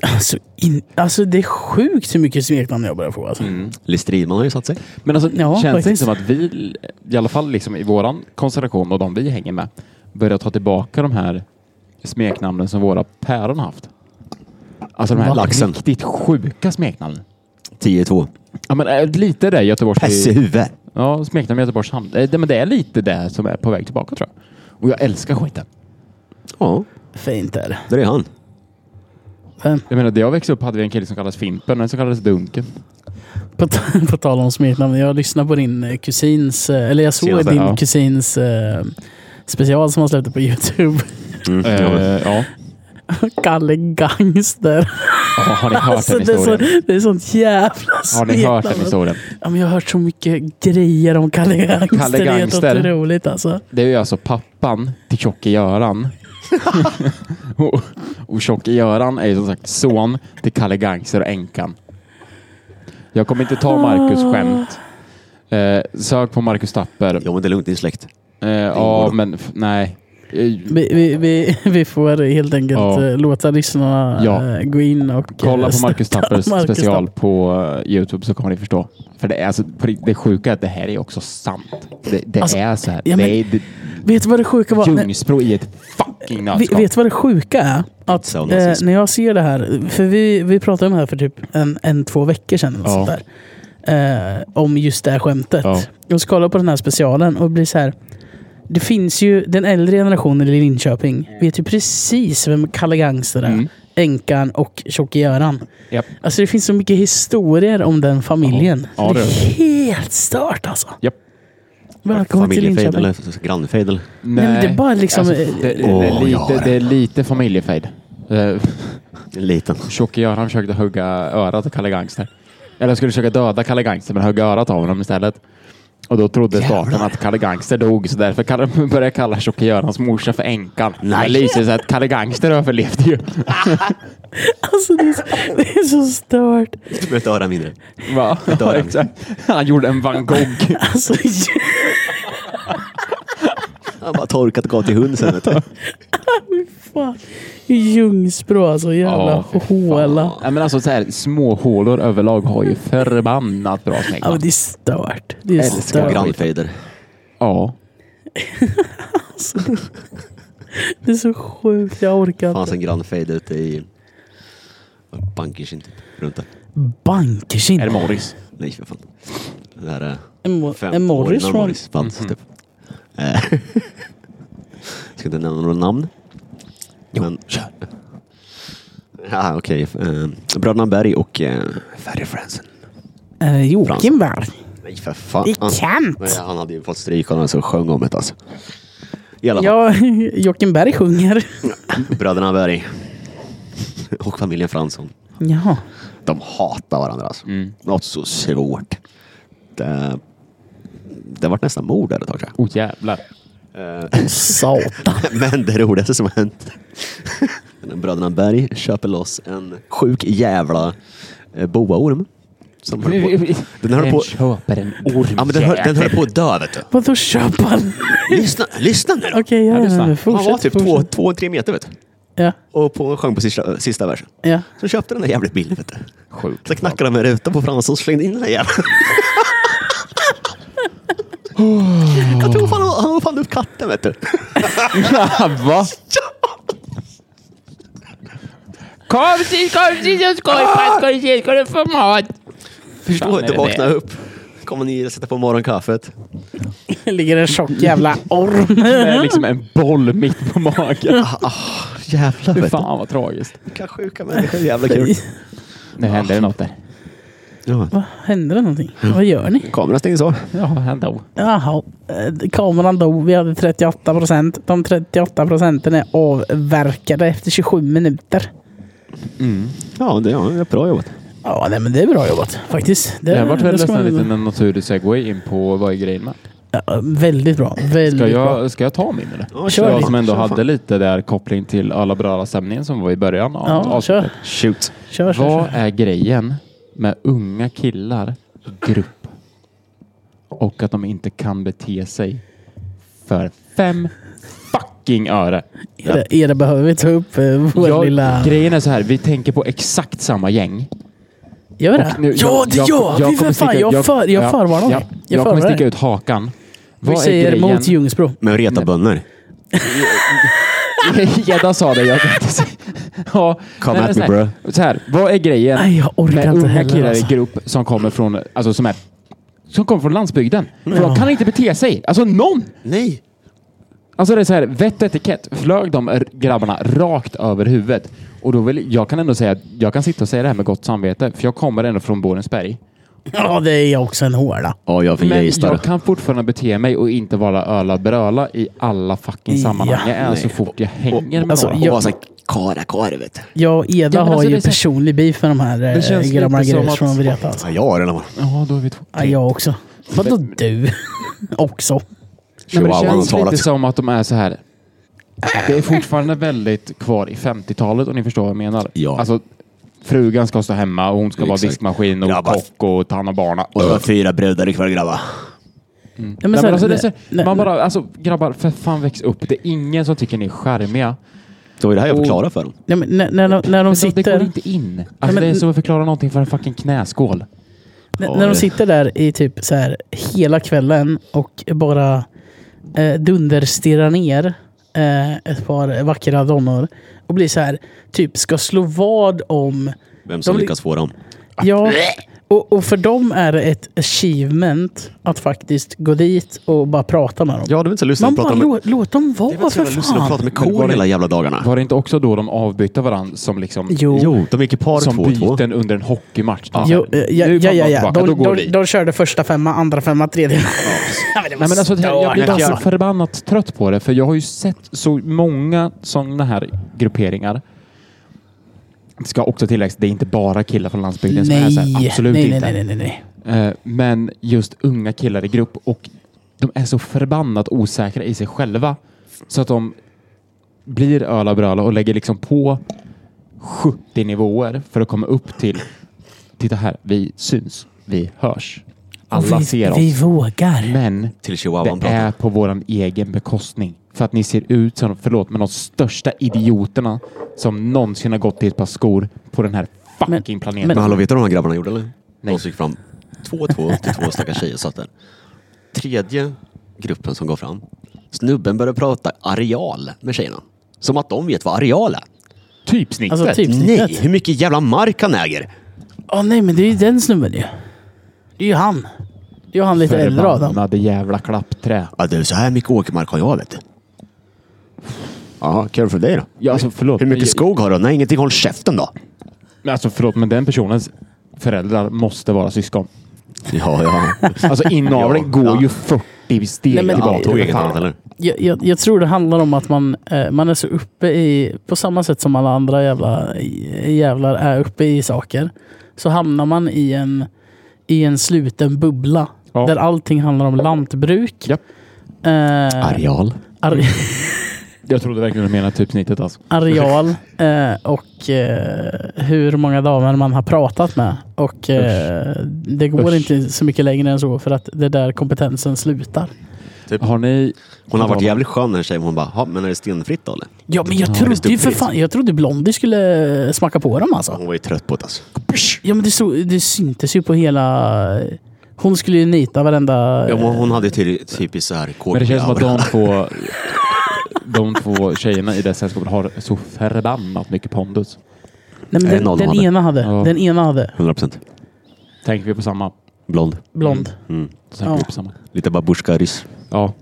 Speaker 1: Alltså, in, alltså det är sjukt hur mycket smeknamn jag börjar få. Alltså.
Speaker 2: Liz Stridman har ju satt sig.
Speaker 3: Men alltså,
Speaker 1: Ja,
Speaker 3: känns det
Speaker 1: faktiskt.
Speaker 3: inte som att vi, i alla fall liksom i våran konstellation och de vi hänger med, börjar ta tillbaka de här smeknamnen som våra päron haft? Alltså de här
Speaker 2: Laxen.
Speaker 3: riktigt sjuka smeknamnen.
Speaker 2: 10-2.
Speaker 3: Ja men eh, lite det Göteborgs...
Speaker 2: Päss i huvudet.
Speaker 3: Ja, smeknamn Göteborgs hamn. Eh, Det, men det är lite det som är på väg tillbaka tror jag. Och jag älskar skiten.
Speaker 2: Ja,
Speaker 1: Fint är det.
Speaker 2: där är han.
Speaker 1: Men
Speaker 3: Jag menar, där jag växte upp hade vi en kille som kallades Fimpen och en som kallades Dunken.
Speaker 1: På, ta- på tal om smeknamn. Jag lyssnade på din eh, kusins, eh, eller jag såg
Speaker 2: Senaste,
Speaker 1: din
Speaker 3: ja.
Speaker 1: kusins eh, special som han släppte på Youtube.
Speaker 2: Mm.
Speaker 3: Eh,
Speaker 2: ja.
Speaker 3: ja.
Speaker 1: Kalle Gangster.
Speaker 3: Ja, Har ni hört
Speaker 1: Alltså,
Speaker 3: den
Speaker 1: det, är så,
Speaker 3: historien?
Speaker 1: det är sånt jävla
Speaker 3: Har ni hört den
Speaker 1: smeknamn.
Speaker 3: historien?
Speaker 1: Ja, men jag har hört så mycket grejer om Kalle Gangster.
Speaker 3: Kalle
Speaker 1: Det är
Speaker 3: Gangster.
Speaker 1: helt otroligt alltså.
Speaker 3: Det är ju alltså pappan till Tjocke Göran. och, och Tjocke Göran är ju som sagt son till Kalle Gangster och änkan. Jag kommer inte
Speaker 1: Ah.
Speaker 3: ta Marcus skämt. Eh, sök på Marcus Tapper.
Speaker 2: Jo, men det är lugnt. Det är släkt.
Speaker 3: Eh,
Speaker 2: går
Speaker 3: ja,
Speaker 2: då.
Speaker 3: men f- nej. Eh,
Speaker 1: Vi, vi, vi, vi får helt enkelt
Speaker 3: Ja.
Speaker 1: eh, låta lyssnarna
Speaker 3: Ja.
Speaker 1: eh, gå in och eh,
Speaker 3: Kolla på
Speaker 1: stötta
Speaker 3: Marcus Tappers
Speaker 1: Marcus
Speaker 3: special på eh, Youtube så kommer ni förstå. För det, är alltså, på riktigt, det sjuka är att det här är också sant. Det, det
Speaker 1: Alltså,
Speaker 3: är så här.
Speaker 1: ja, men-
Speaker 3: det är det,
Speaker 1: Vet du vad det sjuka var? Nej,
Speaker 3: Ljungsbro i ett fucking
Speaker 1: vi-
Speaker 3: nötskal.
Speaker 1: Vet du vad det sjuka är? Att
Speaker 2: Så
Speaker 1: eh,
Speaker 2: nazism.
Speaker 1: när jag ser det här, för vi, vi pratade om det här för typ en, en två veckor sedan. Eller
Speaker 3: Ja.
Speaker 1: sånt där, eh, om just det här skämtet.
Speaker 3: Ja.
Speaker 1: Och så kollar jag på den här specialen och blir så här. Det finns ju den äldre generationen i Linköping vet ju precis vem Kalle Gangster är.
Speaker 3: Mm.
Speaker 1: Änkan och Tjocke Göran.
Speaker 3: Japp.
Speaker 1: Alltså det finns så mycket historier om den familjen.
Speaker 3: Ja. Ja,
Speaker 1: det är
Speaker 3: det
Speaker 1: helt stört alltså.
Speaker 3: Japp.
Speaker 1: Välkommen till
Speaker 2: Familjefejd
Speaker 1: Linköping.
Speaker 2: eller grannfejd. eller?
Speaker 1: Nej, men det är bara liksom-
Speaker 3: Alltså, det, det,
Speaker 2: Åh,
Speaker 3: är
Speaker 2: jag har
Speaker 3: lite,
Speaker 2: det.
Speaker 3: det är lite familjefejd. Eh,
Speaker 2: En Liten.
Speaker 3: Tjocke Göran försökte hugga örat av Kalle Gangster. Eller skulle försöka döda Kalle Gangster men högg örat av honom istället. Och då trodde staten att Kalle Gangster dog så därför kall- började jag kalla Tjocke Görans morsa för änkan.
Speaker 2: Nej.
Speaker 3: Men Det visade sig att Kalle Gangster överlevde ju.
Speaker 1: Alltså det är så, det är så stört.
Speaker 2: Du behöver inte höra mindre.
Speaker 3: Va?
Speaker 2: dör
Speaker 3: Ja,
Speaker 2: han.
Speaker 3: exakt. Han gjorde en van Gogh.
Speaker 1: Alltså,
Speaker 2: Han bara torkat och gav till hund sen. Vet du.
Speaker 1: Fan. Ljungsbro alltså, jävla
Speaker 3: Ja, fy
Speaker 1: håla.
Speaker 3: Ja, men alltså så här, små hålor överlag har ju förbannat bra snygg.
Speaker 1: Ja, men det är stört. Det är
Speaker 3: Älskar
Speaker 2: Och
Speaker 1: stört.
Speaker 3: gran-
Speaker 2: grannfejder.
Speaker 3: Ja.
Speaker 1: Det är så sjukt, jag orkar
Speaker 2: fanns
Speaker 1: inte.
Speaker 2: en grannfejd ute i Bankersin typ. Runt där.
Speaker 1: Bankerkind.
Speaker 3: Är det Morris?
Speaker 2: Nej, för fan. Det här eh, är
Speaker 1: En Mo-
Speaker 2: fem
Speaker 1: en Morris
Speaker 2: år
Speaker 1: från-
Speaker 2: innan
Speaker 1: Mm.
Speaker 2: Morris fanns typ. Eh, Ska inte nämna några namn. Men, Ja, okej. Eh, Bröderna Berg och eh, Ferry Fransen.
Speaker 1: Eh, Joakim Berg.
Speaker 2: Nej, för fan.
Speaker 1: Det är Kent.
Speaker 2: Nej, han hade ju fått stryk av någon som sjöng om det alltså. I alla fall,
Speaker 1: Ja, Joakim Berg sjunger.
Speaker 2: Bröderna Berg. Och familjen Fransson.
Speaker 1: Jaha.
Speaker 2: De hatar varandra alltså.
Speaker 1: Mm.
Speaker 2: Något så svårt. Det, det vart nästan mord där ett tag tror jag.
Speaker 3: Oh jävlar.
Speaker 1: Satan.
Speaker 2: Men det roligaste som har hänt. Bröderna Berg köper loss en sjuk jävla eh, boaorm. Som håller på. Den höll på,
Speaker 3: köper en
Speaker 2: ja, men den höll, den höll på att dö vet du.
Speaker 1: Vadå köpa? Okej,
Speaker 2: Lyssna, lyssna nu då.
Speaker 1: okay, ja,
Speaker 3: lyssna.
Speaker 1: men
Speaker 2: Han var
Speaker 1: fortsätt.
Speaker 2: typ två,
Speaker 1: fortsätt.
Speaker 2: två, tre meter vet du.
Speaker 1: Ja,
Speaker 2: Och på, sjöng på sista, sista versen.
Speaker 1: ja.
Speaker 2: Så köpte den där jävligt billigt vet du.
Speaker 3: Sjukt.
Speaker 2: Så knackade de med rutan på Fransson och slängde in den där jäveln. Jag tror fan han han var fan upp katten vet du.
Speaker 3: Va? Kom till, kom till så skojpass, kom till, ska du få mat?
Speaker 2: Förstår
Speaker 3: Fan,
Speaker 2: inte,
Speaker 3: är det
Speaker 2: vakna
Speaker 3: det?
Speaker 2: upp. Kommer ni och sätta på morgonkaffet.
Speaker 1: ligger en tjock jävla orm.
Speaker 3: Det är liksom en boll mitt på magen.
Speaker 2: Jävlar
Speaker 3: Fy
Speaker 2: vet du.
Speaker 3: fan vad tragiskt.
Speaker 2: Vilka sjuka människor, jävla kul.
Speaker 3: Nu händer det något där.
Speaker 2: Ja.
Speaker 1: Hände det någonting? Vad gör ni?
Speaker 2: Kameran stängs av.
Speaker 3: Ja, hända.
Speaker 1: Jaha, eh, kameran dog. Vi hade 38 procent. De 38 procenten är avverkade efter 27 minuter.
Speaker 2: Ja, det ja, det är bra jobbat.
Speaker 1: Ja, nej, men det är bra jobbat faktiskt.
Speaker 3: Det har varit väl
Speaker 1: ska
Speaker 3: nästan
Speaker 1: man-
Speaker 3: en liten naturlig segway in på vad är grejen med.
Speaker 1: Ja, väldigt bra. Väldigt
Speaker 3: Ska
Speaker 1: bra.
Speaker 3: jag, ska jag ta min eller?
Speaker 2: Ja,
Speaker 1: kör
Speaker 3: jag
Speaker 1: din.
Speaker 3: som ändå
Speaker 2: Kör fan.
Speaker 3: hade lite där koppling till alla bröda stämningen som var i början av
Speaker 1: Ja,
Speaker 3: avsnittet.
Speaker 1: kör.
Speaker 2: Shoot.
Speaker 1: Kör, kör,
Speaker 3: Vad
Speaker 1: kör.
Speaker 3: är grejen med unga killar i grupp? Och att de inte kan bete sig för fem fucking öre.
Speaker 1: Är det, är det behöver vi ta upp eh, vår
Speaker 3: Jag,
Speaker 1: lilla...
Speaker 3: Grejen är så här, vi tänker på exakt samma gäng.
Speaker 1: Gör vi det?
Speaker 3: Nu,
Speaker 1: ja, det gör vi!
Speaker 3: kommer
Speaker 1: för
Speaker 3: sticka
Speaker 1: fan.
Speaker 3: ut-
Speaker 1: Jag, för, jag
Speaker 3: ja,
Speaker 1: förvarnar
Speaker 3: ja,
Speaker 1: dig.
Speaker 3: Jag,
Speaker 1: Jag förvarnar
Speaker 3: kommer sticka
Speaker 1: dig.
Speaker 3: ut hakan.
Speaker 1: Vi
Speaker 3: är
Speaker 1: säger
Speaker 3: grejen-
Speaker 1: mot Ljungsbro.
Speaker 2: Men reta bönder.
Speaker 3: Gädda sa det, jag kan inte säga. Ja,
Speaker 2: Come
Speaker 3: nej, men
Speaker 2: at
Speaker 3: så
Speaker 2: me,
Speaker 3: här, Så här, vad är grejen
Speaker 1: Nej, jag orkar
Speaker 3: med
Speaker 1: inte
Speaker 3: unga
Speaker 1: heller,
Speaker 3: killar
Speaker 1: alltså.
Speaker 3: i grupp som kommer från, alltså, som är, som kommer från landsbygden? För de kan inte bete sig. Alltså någon!
Speaker 2: Nej.
Speaker 3: Alltså det är så här, vett och etikett flög de r- grabbarna rakt över huvudet. Och då vill, jag kan ändå säga, att jag kan sitta och säga det här med gott samvete, för jag kommer ändå från Borensberg.
Speaker 1: Ja, det är jag också en hårda.
Speaker 2: Ja, jag
Speaker 3: Men jag
Speaker 2: gejstar.
Speaker 3: kan fortfarande bete mig och inte vara öla bröla i alla fucking
Speaker 1: Ja,
Speaker 3: sammanhang jag är så fort jag hänger med
Speaker 1: alltså,
Speaker 3: några.
Speaker 1: jag-
Speaker 2: Och vara sån kara kara vet du.
Speaker 1: Jag och Eda
Speaker 3: men
Speaker 1: har
Speaker 3: alltså, det
Speaker 1: ju
Speaker 3: är så-
Speaker 1: personlig beef med de här eh,
Speaker 3: känns lite
Speaker 1: grabbarna och
Speaker 3: som
Speaker 1: grejer
Speaker 3: att-
Speaker 1: från Vreta. Alltså.
Speaker 2: Ja, jag är det.
Speaker 3: Ja, då är vi två.
Speaker 1: Ja, jag också. Vadå du? också.
Speaker 3: Nej, men det
Speaker 2: Chihuahuan
Speaker 3: känns
Speaker 2: har talat.
Speaker 3: lite som att de är så här. Det är fortfarande väldigt kvar i 50-talet om ni förstår vad jag menar.
Speaker 2: Ja.
Speaker 3: Alltså, frugan ska stå hemma och hon ska vara
Speaker 2: Exakt.
Speaker 3: diskmaskin och
Speaker 2: Grabbar.
Speaker 3: kock och ta hand om barna.
Speaker 2: Och det var fyra brudar ikväll grabbar.
Speaker 1: Nej,
Speaker 3: Nej,
Speaker 1: så här,
Speaker 3: men alltså, det är så,
Speaker 1: nej,
Speaker 3: man
Speaker 1: nej.
Speaker 3: bara, alltså, grabbar, för fan väx upp. Det är ingen som tycker ni är charmiga.
Speaker 2: Det var ju det här jag
Speaker 3: Oh.
Speaker 2: förklarade för dem.
Speaker 1: Nej, men när, när, de- när de
Speaker 3: Alltså, det går
Speaker 1: sitter...
Speaker 3: inte in. Alltså,
Speaker 1: men-
Speaker 3: det är som att förklara någonting för en fucking knäskål.
Speaker 1: N- När de sitter där i typ så här hela kvällen och bara eh, dunderstirrar ner eh, ett par vackra donnor och blir så här, typ ska slå vad om...
Speaker 2: Vem som
Speaker 1: De-
Speaker 2: lyckas få dem.
Speaker 1: Ja, och, och för dem är det ett achievement att faktiskt gå dit och bara prata med dem.
Speaker 2: Ja, det är väl inte så lustigt
Speaker 1: Man
Speaker 2: att
Speaker 1: bara
Speaker 2: prata med...
Speaker 1: lå, låt dem
Speaker 2: Det är väl
Speaker 1: vara
Speaker 2: inte
Speaker 1: för
Speaker 2: så jävla lustigt att
Speaker 1: fan.
Speaker 2: prata med
Speaker 3: Men var
Speaker 2: kor
Speaker 3: det-
Speaker 2: hela jävla dagarna.
Speaker 3: Var det inte också då de avbytte varandra som liksom...
Speaker 1: Jo.
Speaker 2: Jo, de gick i par
Speaker 3: Som
Speaker 2: två och två.
Speaker 3: byten under en hockeymatch. Typ.
Speaker 1: Jo, eh, ja,
Speaker 3: Nu
Speaker 1: ja,
Speaker 3: kommer
Speaker 1: ja,
Speaker 3: de
Speaker 1: ja.
Speaker 3: tillbaka, då
Speaker 1: De, de,
Speaker 3: går vi.
Speaker 1: de, körde första femma, andra femma, tredje femma. Ja, men det var
Speaker 3: Nej, men alltså, jag, jag blir
Speaker 1: stört,
Speaker 3: bara så
Speaker 1: alltså.
Speaker 3: förbannat trött på det, för jag har ju sett så många sådana här grupperingar. Det ska också tilläggas, det är inte bara killar från landsbygden som är så här.
Speaker 1: Nej.
Speaker 3: Absolut
Speaker 1: nej,
Speaker 3: inte.
Speaker 1: nej, nej, nej, nej.
Speaker 3: Eh, Men just unga killar i grupp och de är så förbannat osäkra i sig själva så att de blir öla bröla och lägger liksom på 70 nivåer för att komma upp till titta här, vi syns, vi hörs. Alla
Speaker 1: vi,
Speaker 3: ser oss.
Speaker 1: Vi vågar.
Speaker 3: Men
Speaker 2: Till chihuahuan
Speaker 3: det är
Speaker 2: pratar.
Speaker 3: på vår egen bekostning. För att ni ser ut som, förlåt, men de största idioterna som någonsin har gått i ett par skor på den här fucking
Speaker 2: Men
Speaker 3: planeten.
Speaker 1: men-
Speaker 2: hallå, vet du vad de här grabbarna gjorde eller?
Speaker 3: Nej.
Speaker 2: De gick fram två och två till två stackars tjejer och satt där. Tredje gruppen som går fram. Snubben började prata areal med tjejerna. Som att de vet vad areal är.
Speaker 3: typsnittet.
Speaker 1: Alltså, typ-
Speaker 2: Nej, hur mycket jävla mark han äger.
Speaker 1: Åh nej, men det är ju den snubben ju. Det är ju han. Det är ju han lite äldre Adam.
Speaker 3: Förbannade jävla klappträ.
Speaker 2: Ja, det är så här mycket åkermark har jag vet du. Ja, kul för dig då.
Speaker 3: Ja, alltså, förlåt.
Speaker 2: Hur mycket
Speaker 3: Jag-
Speaker 2: skog har du? Nej, ingenting. Håll käften då.
Speaker 3: Men Alltså förlåt, men den personens föräldrar måste vara syskon.
Speaker 2: Ja, ja.
Speaker 3: Alltså inaveln
Speaker 2: Ja,
Speaker 3: går
Speaker 2: ja.
Speaker 3: ju 40 steg
Speaker 1: Nej, men-
Speaker 3: tillbaka.
Speaker 2: ja tog inget
Speaker 3: Fan.
Speaker 2: annat, eller?
Speaker 1: Jag, jag, jag tror det handlar om att man, eh, man är så uppe i, på samma sätt som alla andra jävla, jävlar är uppe i saker, så hamnar man i en, i en sluten bubbla
Speaker 3: Ja.
Speaker 1: där allting handlar om lantbruk.
Speaker 3: Japp.
Speaker 1: Eh,
Speaker 2: Areal.
Speaker 1: are,
Speaker 3: Jag trodde verkligen du menade typsnittet alltså.
Speaker 1: areal eh, och eh, hur många damer man har pratat med. Och eh, Det går
Speaker 3: Usch.
Speaker 1: inte så mycket längre än så för att det är där kompetensen slutar.
Speaker 3: Har ni...
Speaker 2: Hon har varit jävligt skön den tjejen. Hon bara, "Ja, men är det stenfritt då eller?
Speaker 1: Ja, men jag
Speaker 3: Ja,
Speaker 1: trodde ju för
Speaker 2: stupid.
Speaker 1: fan, jag trodde Blondie skulle eh, smacka på dem alltså.
Speaker 2: Hon var ju trött på det alltså.
Speaker 1: Ja, men det, så, det syntes ju på hela... eh, Hon skulle ju nita varenda...
Speaker 2: Ja, men hon hade ty- typiskt så här kåk
Speaker 3: Men det känns som att de två, de två tjejerna i det sällskapet har så förbannat mycket pondus.
Speaker 1: Nej, men
Speaker 2: Nej,
Speaker 1: den,
Speaker 2: någon
Speaker 1: den
Speaker 2: hade.
Speaker 1: ena hade.
Speaker 3: Ja.
Speaker 1: Den ena hade.
Speaker 2: 100%.
Speaker 3: Tänker vi på samma,
Speaker 2: Blond.
Speaker 1: Blond.
Speaker 2: Mm.
Speaker 3: så tänker
Speaker 1: Ja.
Speaker 3: vi på samma.
Speaker 2: Lite babusjka-ryss.
Speaker 3: Ja.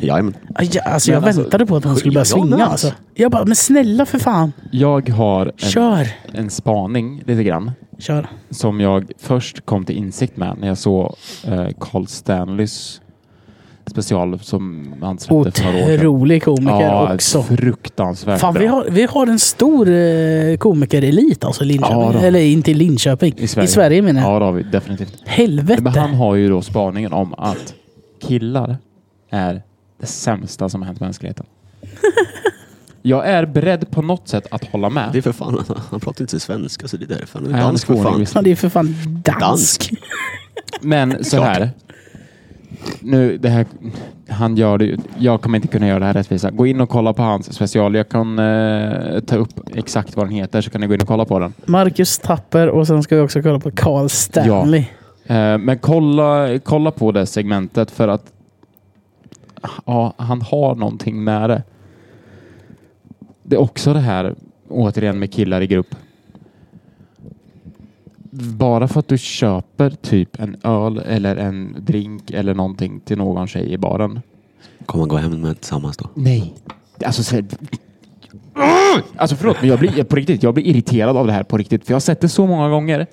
Speaker 2: Jajamän.
Speaker 1: Aj, ja, alltså, jag
Speaker 3: Men alltså,
Speaker 1: väntade på att hon skulle börja
Speaker 2: jag med,
Speaker 1: svinga.
Speaker 2: alltså.
Speaker 1: Alltså. Jag bara, men snälla för fan.
Speaker 3: Jag har en,
Speaker 1: Kör.
Speaker 3: en spaning lite grann.
Speaker 1: Kör.
Speaker 3: som jag först kom till insikt med när jag såg eh, Carl Stanleys special som han släppte för några år sedan.
Speaker 1: Otrolig komiker
Speaker 3: Ja,
Speaker 1: också.
Speaker 3: fruktansvärt
Speaker 1: Fan,
Speaker 3: bra.
Speaker 1: vi har, vi har en stor eh, komikerelit alltså i
Speaker 3: Ja,
Speaker 1: Linköping.
Speaker 3: då.
Speaker 1: Eller inte i Linköping.
Speaker 3: I Sverige.
Speaker 1: menar jag.
Speaker 3: Ja, det har vi definitivt. Men
Speaker 1: Helvete.
Speaker 3: han har ju då spaningen om att killar är det sämsta som har hänt mänskligheten. jag är beredd på något sätt att hålla med.
Speaker 2: Det är för fan, han pratar inte svenska så det är därför. Han är
Speaker 3: Nej, han är
Speaker 2: dansk för
Speaker 3: skåning,
Speaker 2: fan.
Speaker 3: visst.
Speaker 1: Han är ju för fan dansk.
Speaker 2: Dansk.
Speaker 3: Men så här. Nu, det här, han gör det ju. Jag kommer inte kunna göra det här rättvisa. Gå in och kolla på hans special. Jag kan eh, ta upp exakt vad den heter så kan ni gå in och kolla på den.
Speaker 1: Marcus Tapper och sen ska vi också kolla på Carl Stanley.
Speaker 3: Eh, men kolla, kolla på det segmentet för att ja, han har någonting med det. Det är också det här, återigen med killar i grupp. Bara för att du köper typ en öl eller en drink eller någonting till någon tjej i baren.
Speaker 2: Kommer han gå hem med tillsammans då?
Speaker 3: Nej. Alltså, så... alltså förlåt, men jag blir, jag, på riktigt, jag blir irriterad av det här på riktigt. För jag har sett det så många gånger.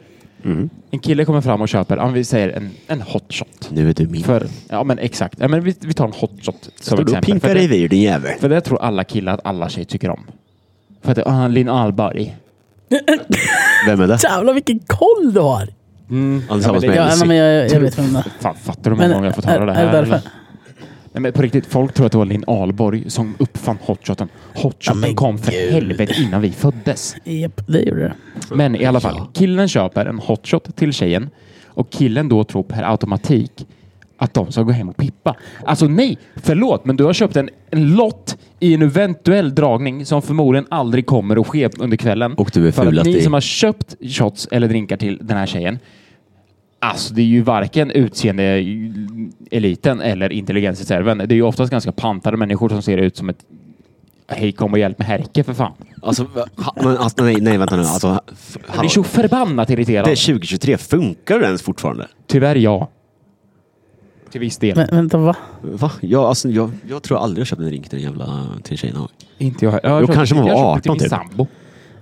Speaker 3: En kille kommer fram och köper, ja, men vi säger en, en hot shot.
Speaker 2: Nu är du min.
Speaker 3: För, ja men exakt. Ja, men vi, vi tar en hot shot som
Speaker 2: Står du och
Speaker 3: exempel.
Speaker 2: pinkar
Speaker 3: För
Speaker 2: dig
Speaker 3: det,
Speaker 2: vid din jävel?
Speaker 3: för det tror alla killar att alla tjejer tycker om. För att det är Linn Ahlberg.
Speaker 2: Vem är det?
Speaker 1: Jävlar vilken koll du har!
Speaker 2: Han är tillsammans
Speaker 3: Ja, men det-
Speaker 1: Ja, nej,
Speaker 2: med Elsie.
Speaker 1: men jag, jag vet vem det är.
Speaker 3: Fan, fattar du hur många
Speaker 1: Men
Speaker 3: gånger jag fått
Speaker 1: är-
Speaker 3: höra det här?
Speaker 1: är det därför?
Speaker 3: eller? Nej, men på riktigt, folk tror att det var Linn Ahlborg som uppfann hotshoten. Hotshoten
Speaker 1: men
Speaker 3: kom för
Speaker 1: gud.
Speaker 3: helvete innan vi föddes.
Speaker 1: Japp, det gjorde det.
Speaker 2: Typ.
Speaker 3: Men i alla fall, killen köper en hotshot till tjejen och killen då tror per automatik att de ska gå hem och pippa. Alltså nej, förlåt, men du har köpt en, en lott i en eventuell dragning som förmodligen aldrig kommer att ske under kvällen.
Speaker 2: Och du är
Speaker 3: För att
Speaker 2: fulast
Speaker 3: ni
Speaker 2: i-
Speaker 3: som har köpt shots eller drinkar till den här tjejen, alltså det är ju varken utseendeeliten eller intelligensreserven. Det är ju oftast ganska pantade människor som ser ut som ett Hej kom och hjälp med Herke för fan.
Speaker 2: Alltså, ha- men, alltså, nej, nej, vänta nu. Alltså, f-
Speaker 3: Jag blir så
Speaker 2: hallå.
Speaker 3: förbannat irriterad.
Speaker 2: det är 2023, funkar det ens fortfarande?
Speaker 3: Tyvärr ja. Till viss del.
Speaker 1: Men, vänta, va?
Speaker 2: Va? Jag, alltså, jag, jag tror aldrig jag köpte en drink till en jävla till tjejerna. Ja,
Speaker 3: inte jag.
Speaker 2: Jo, kanske man var
Speaker 3: jag köpte
Speaker 2: 18
Speaker 3: till min
Speaker 2: typ.
Speaker 3: sambo.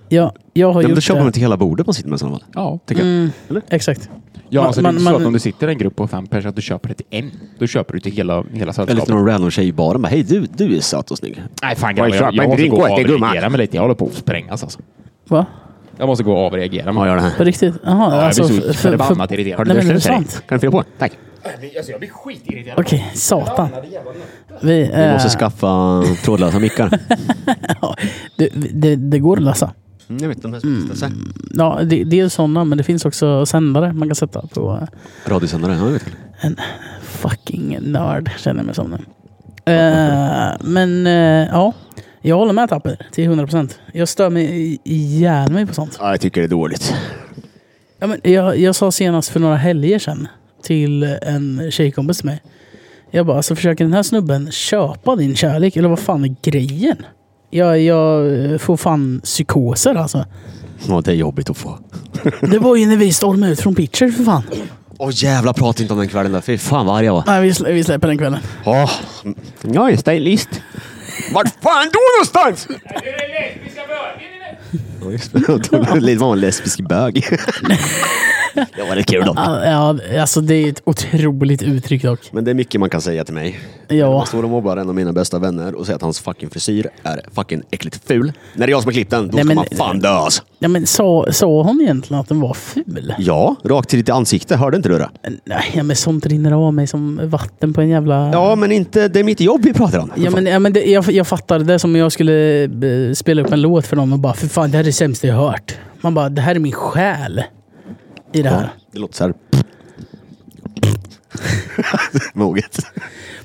Speaker 1: Jag, jag har
Speaker 2: men då
Speaker 1: gjort
Speaker 2: köper
Speaker 1: det.
Speaker 2: man till hela bordet man sitter med i sådana fall.
Speaker 3: Ja.
Speaker 2: Tänker jag.
Speaker 1: Exakt.
Speaker 3: ja
Speaker 1: Man-
Speaker 3: alltså, det är
Speaker 1: Mm. man-
Speaker 3: inte så att
Speaker 1: man-
Speaker 3: om du sitter i en grupp på fem personer att du köper det till en. Då köper du till hela, hela
Speaker 2: Eller
Speaker 3: sällskapet.
Speaker 2: till någon random tjej i baren. Bara, Hej, du, du är söt och snygg.
Speaker 3: Nej fan grabbar,
Speaker 2: Oj, köp
Speaker 3: jag,
Speaker 2: en
Speaker 3: jag måste
Speaker 2: drink
Speaker 3: gå och
Speaker 2: åt dig, gumman.
Speaker 3: avreagera mig lite. Jag håller på att sprängas alltså.
Speaker 1: Va?
Speaker 3: Jag måste gå och avreagera
Speaker 2: Ja,
Speaker 3: mig.
Speaker 2: gör det
Speaker 1: På
Speaker 2: här.
Speaker 1: riktigt? Jaha,
Speaker 3: Ja, jag
Speaker 1: alltså...
Speaker 3: blir så
Speaker 1: för- för-
Speaker 3: förbannat
Speaker 1: för-
Speaker 3: irriterad.
Speaker 1: Nej, men det är
Speaker 2: Törs du en
Speaker 1: sant.
Speaker 2: tjej? Kan du fylla på? Tack.
Speaker 4: Alltså jag blir skitirriterad.
Speaker 1: Okej, satan.
Speaker 4: Förbannade jävla nöt.
Speaker 1: Vi,
Speaker 2: Vi
Speaker 1: eh,
Speaker 2: måste skaffa trådlösa mickar.
Speaker 1: ja, det, det, det går att lösa.
Speaker 2: Mm, jag vet, de här som kastar sig.
Speaker 1: Ja, det, det är sådana, men det finns också sändare man kan sätta på. eh,
Speaker 2: Radiosändare. Ja, jag vet.
Speaker 1: Fucking nörd, känner jag mig som nu. Eh, men eh, ja, jag håller med Tapper till 100%. Jag stör mig i- ihjäl mig på sånt.
Speaker 2: Ja, jag tycker det är dåligt.
Speaker 1: Ja, men jag, jag sa senast för några helger sedan till en tjejkompis till mig. Jag bara, alltså försöker den här snubben köpa din kärlek? Eller vad fan är grejen? Jag, jag eh, får fan psykoser alltså.
Speaker 2: Ja, det är jobbigt att få.
Speaker 1: Det var ju när vi stormade ut från Pitcher för fan.
Speaker 2: Åh jävlar, prata inte om den kvällen där. Fy fan vad arg jag var.
Speaker 1: Nej, vi, slä, vi släpper den kvällen.
Speaker 2: Oh. Jag är stylist. Vart fan då någonstans?
Speaker 4: Nu är det lesbiska bögen
Speaker 2: Det var en lesbisk bög. det var rätt kul dock.
Speaker 1: Ja, alltså det är ett otroligt uttryck dock.
Speaker 2: Men det är mycket man kan säga till mig.
Speaker 1: Ja.
Speaker 2: Jag står och mobbar en av mina bästa vänner och säger att hans fucking frisyr är fucking äckligt ful. När det är jag som har klippt den, då
Speaker 1: Nej,
Speaker 2: ska
Speaker 1: men-
Speaker 2: man fan dö alltså.
Speaker 1: ja men sa, sa hon egentligen att den var ful?
Speaker 2: Ja, rakt till ditt ansikte. Hörde inte du det?
Speaker 1: Nej, ja, men sånt rinner av mig som vatten på en jävla...
Speaker 2: Ja, men inte, det är mitt jobb vi pratar om.
Speaker 1: Ja, men, ja, men det, jag, jag fattade det som om jag skulle eh, spela upp en låt för någon och bara, för fan det här är det sämsta jag hört. Man bara, det här är min själ i det här.
Speaker 2: Ja, det låter så här. Moget.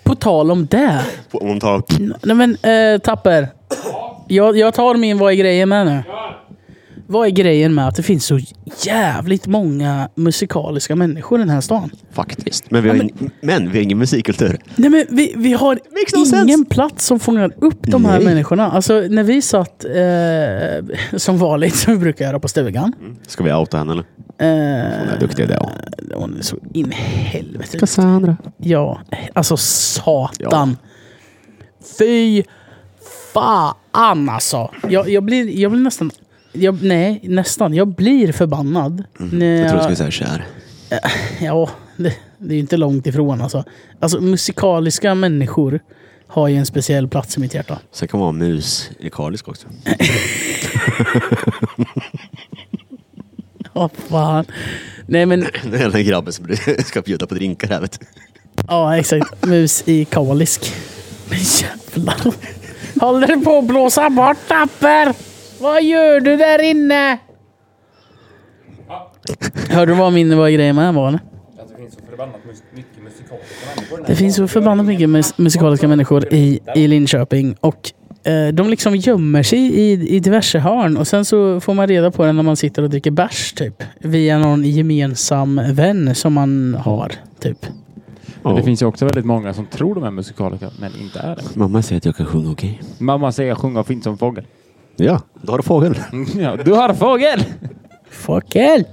Speaker 1: På tal om det.
Speaker 2: Om hon tar...
Speaker 1: Nej men eh, Tapper. Jag, jag tar min Vad är grejen med nu? Vad är grejen med att det finns så jävligt många musikaliska människor i den här stan?
Speaker 2: Faktiskt. Men vi har, ing- men vi har ingen musikkultur.
Speaker 1: Nej men vi, vi har
Speaker 2: Makes no
Speaker 1: ingen
Speaker 2: sense.
Speaker 1: plats som fångar upp de här
Speaker 2: Nej.
Speaker 1: människorna. Alltså när vi satt, eh, som vanligt som vi brukar göra på stugan.
Speaker 2: Ska vi outa henne eller?
Speaker 1: Eh,
Speaker 2: Hon är duktig i det. ja.
Speaker 1: hon är så in i helvete.
Speaker 2: Cassandra.
Speaker 1: Ja, alltså satan. Fy fan alltså. Jag, jag, blir, jag blir nästan... Jag, nej, nästan. Jag blir förbannad. när
Speaker 2: Mm. Jag tror du skulle säga kär.
Speaker 1: Ja, det, det är ju inte långt ifrån alltså. Alltså musikaliska människor har ju en speciell plats i mitt hjärta.
Speaker 2: Sen kan man vara mus i Karlisk också.
Speaker 1: Ja, fan. Nej men,
Speaker 2: Det är den grabben som ska bjuda på drinkar här vet du.
Speaker 1: ja exakt. Mus i Kalisk. Men jävlar. Håller du på att blåsa bort Tapper? Vad gör du där inne? Hörde du vad min vad grejen med var eller?
Speaker 4: Att det finns så förbannat mus- mycket musikaliska människor.
Speaker 1: Det finns så förbannat mycket mus- musikaliska människor i, i Linköping och eh, de liksom gömmer sig i, i diverse hörn och sen så får man reda på det när man sitter och dricker bärs typ. Via någon gemensam vän som man har typ.
Speaker 3: Men det finns ju också väldigt många som tror de är musikaliska, men inte är det.
Speaker 2: Mamma säger att jag kan sjunga okej.
Speaker 3: Mamma säger sjunga fint som fågel.
Speaker 2: Ja, då har du fågel.
Speaker 3: Ja, du har fågel!
Speaker 1: Fuck hell!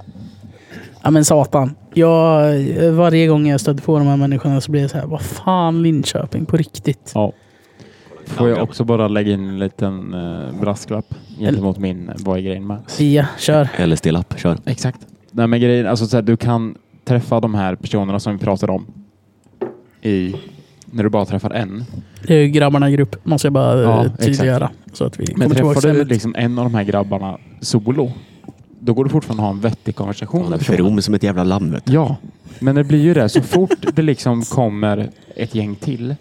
Speaker 1: Ja men satan. Jag, varje gång jag stöter på de här människorna så blir jag så här, vad fan Linköping på riktigt.
Speaker 3: Ja. Får jag också bara lägga in en liten eh, brasklapp gentemot min eh, Vad är grejen med?
Speaker 1: Ja, kör.
Speaker 2: Eller stillapp, kör.
Speaker 3: Exakt. Nej men grejen, alltså så här, du kan träffa de här personerna som vi pratar om i när du bara träffar en.
Speaker 1: Det är ju grabbarna i grupp, måste jag bara eh,
Speaker 3: Ja, exakt.
Speaker 1: tydliggöra. Så att vi kommer
Speaker 3: Men
Speaker 1: tillbaka
Speaker 3: träffar
Speaker 1: till
Speaker 3: du
Speaker 1: ämnet.
Speaker 3: liksom en av de här grabbarna solo, då går det fortfarande att ha en vettig konversation
Speaker 2: Hon är
Speaker 3: med personen.
Speaker 2: from som ett jävla lamm vet du.
Speaker 3: Ja, men det blir ju det. Så fort det liksom kommer ett gäng till,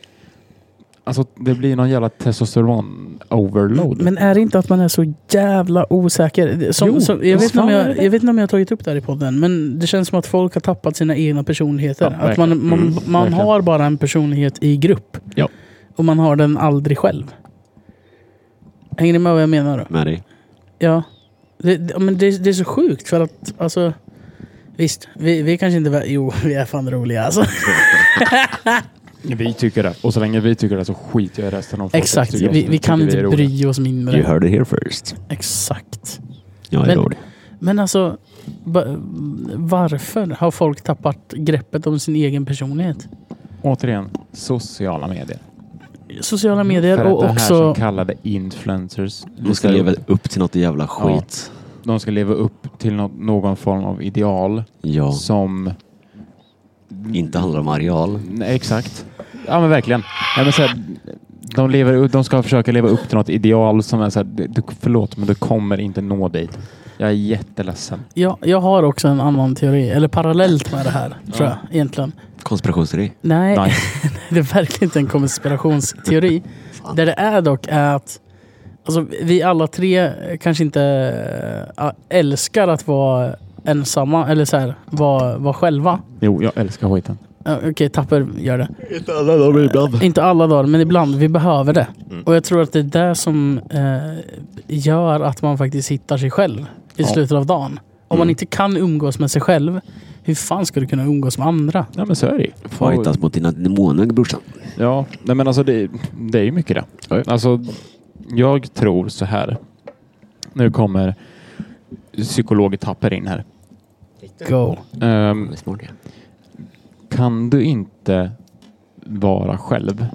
Speaker 3: alltså det blir någon jävla testosteron-overload.
Speaker 1: Mm. Men är det inte att man är så jävla osäker? Som,
Speaker 3: Jo,
Speaker 1: som, jag, vet inte om
Speaker 3: fan är det
Speaker 1: jag,
Speaker 3: det?
Speaker 1: jag vet inte om jag har tagit upp det här i podden, men det känns som att folk har tappat sina egna personligheter.
Speaker 3: Ja,
Speaker 1: att man, man,
Speaker 2: Mm,
Speaker 1: man
Speaker 3: verkligen.
Speaker 1: har bara en personlighet i grupp.
Speaker 2: Ja.
Speaker 1: Och man har den aldrig själv. Hänger ni med vad jag menar? Då?
Speaker 2: Med dig.
Speaker 1: Ja. Det, det, men det, det är så sjukt för att, alltså. Visst, vi, vi kanske inte... var- Jo, vi är fan roliga alltså.
Speaker 3: Vi tycker det. Och så länge vi tycker det så skiter jag i resten av folket.
Speaker 1: Exakt,
Speaker 3: Tycker
Speaker 1: vi,
Speaker 3: jag-
Speaker 1: vi kan
Speaker 3: tycker är
Speaker 1: inte
Speaker 3: roliga.
Speaker 1: bry oss mindre.
Speaker 2: You heard it here first.
Speaker 1: Exakt.
Speaker 2: Ja,
Speaker 1: Men-
Speaker 2: jag rolig.
Speaker 1: Men alltså, ba- varför har folk tappat greppet om sin egen personlighet?
Speaker 3: Återigen, sociala medier.
Speaker 1: Sociala
Speaker 3: Mm. För
Speaker 1: medier
Speaker 3: att
Speaker 1: och
Speaker 3: det här som
Speaker 1: också...
Speaker 3: kallade influencers,
Speaker 2: De ska leva upp till något jävla skit.
Speaker 3: de ska leva upp till nå- någon form av ideal
Speaker 2: Ja.
Speaker 3: som...
Speaker 2: Inte handlar om areal.
Speaker 3: Nej, exakt. Ja men verkligen. Ja, men så här, de, lever, de ska försöka leva upp till något ideal som är så här, du, du- förlåt men du kommer inte nå dit. Jag är jätteledsen.
Speaker 1: Ja, jag har också en annan teori, eller parallellt med det här, tror jag egentligen.
Speaker 2: Konspirationsteori.
Speaker 1: Nej,
Speaker 3: Nej.
Speaker 1: det är verkligen inte en konspirationsteori. Där det är dock är att alltså, vi alla tre eh, kanske inte eh, älskar att vara ensamma, eller så här, vara, vara själva.
Speaker 3: Jo, jag älskar skiten.
Speaker 1: Ja, Okej, Tapper gör det.
Speaker 2: Inte alla dagar ibland.
Speaker 1: Inte alla dagar, men ibland. Vi behöver det. Och jag tror att det är det som eh, gör att man faktiskt hittar sig själv i slutet av dagen. Om man inte kan umgås med sig själv, hur fan ska du kunna umgås med andra?
Speaker 3: Ja men så är det ju.
Speaker 2: Fightas mot dina demoner brorsan.
Speaker 3: Ja, nej men alltså det, det är ju mycket det. Alltså, jag tror så här. Nu kommer psykolog Tapper in här.
Speaker 1: Go.
Speaker 3: Ehm,
Speaker 2: Det är smart, ja.
Speaker 3: kan du inte vara själv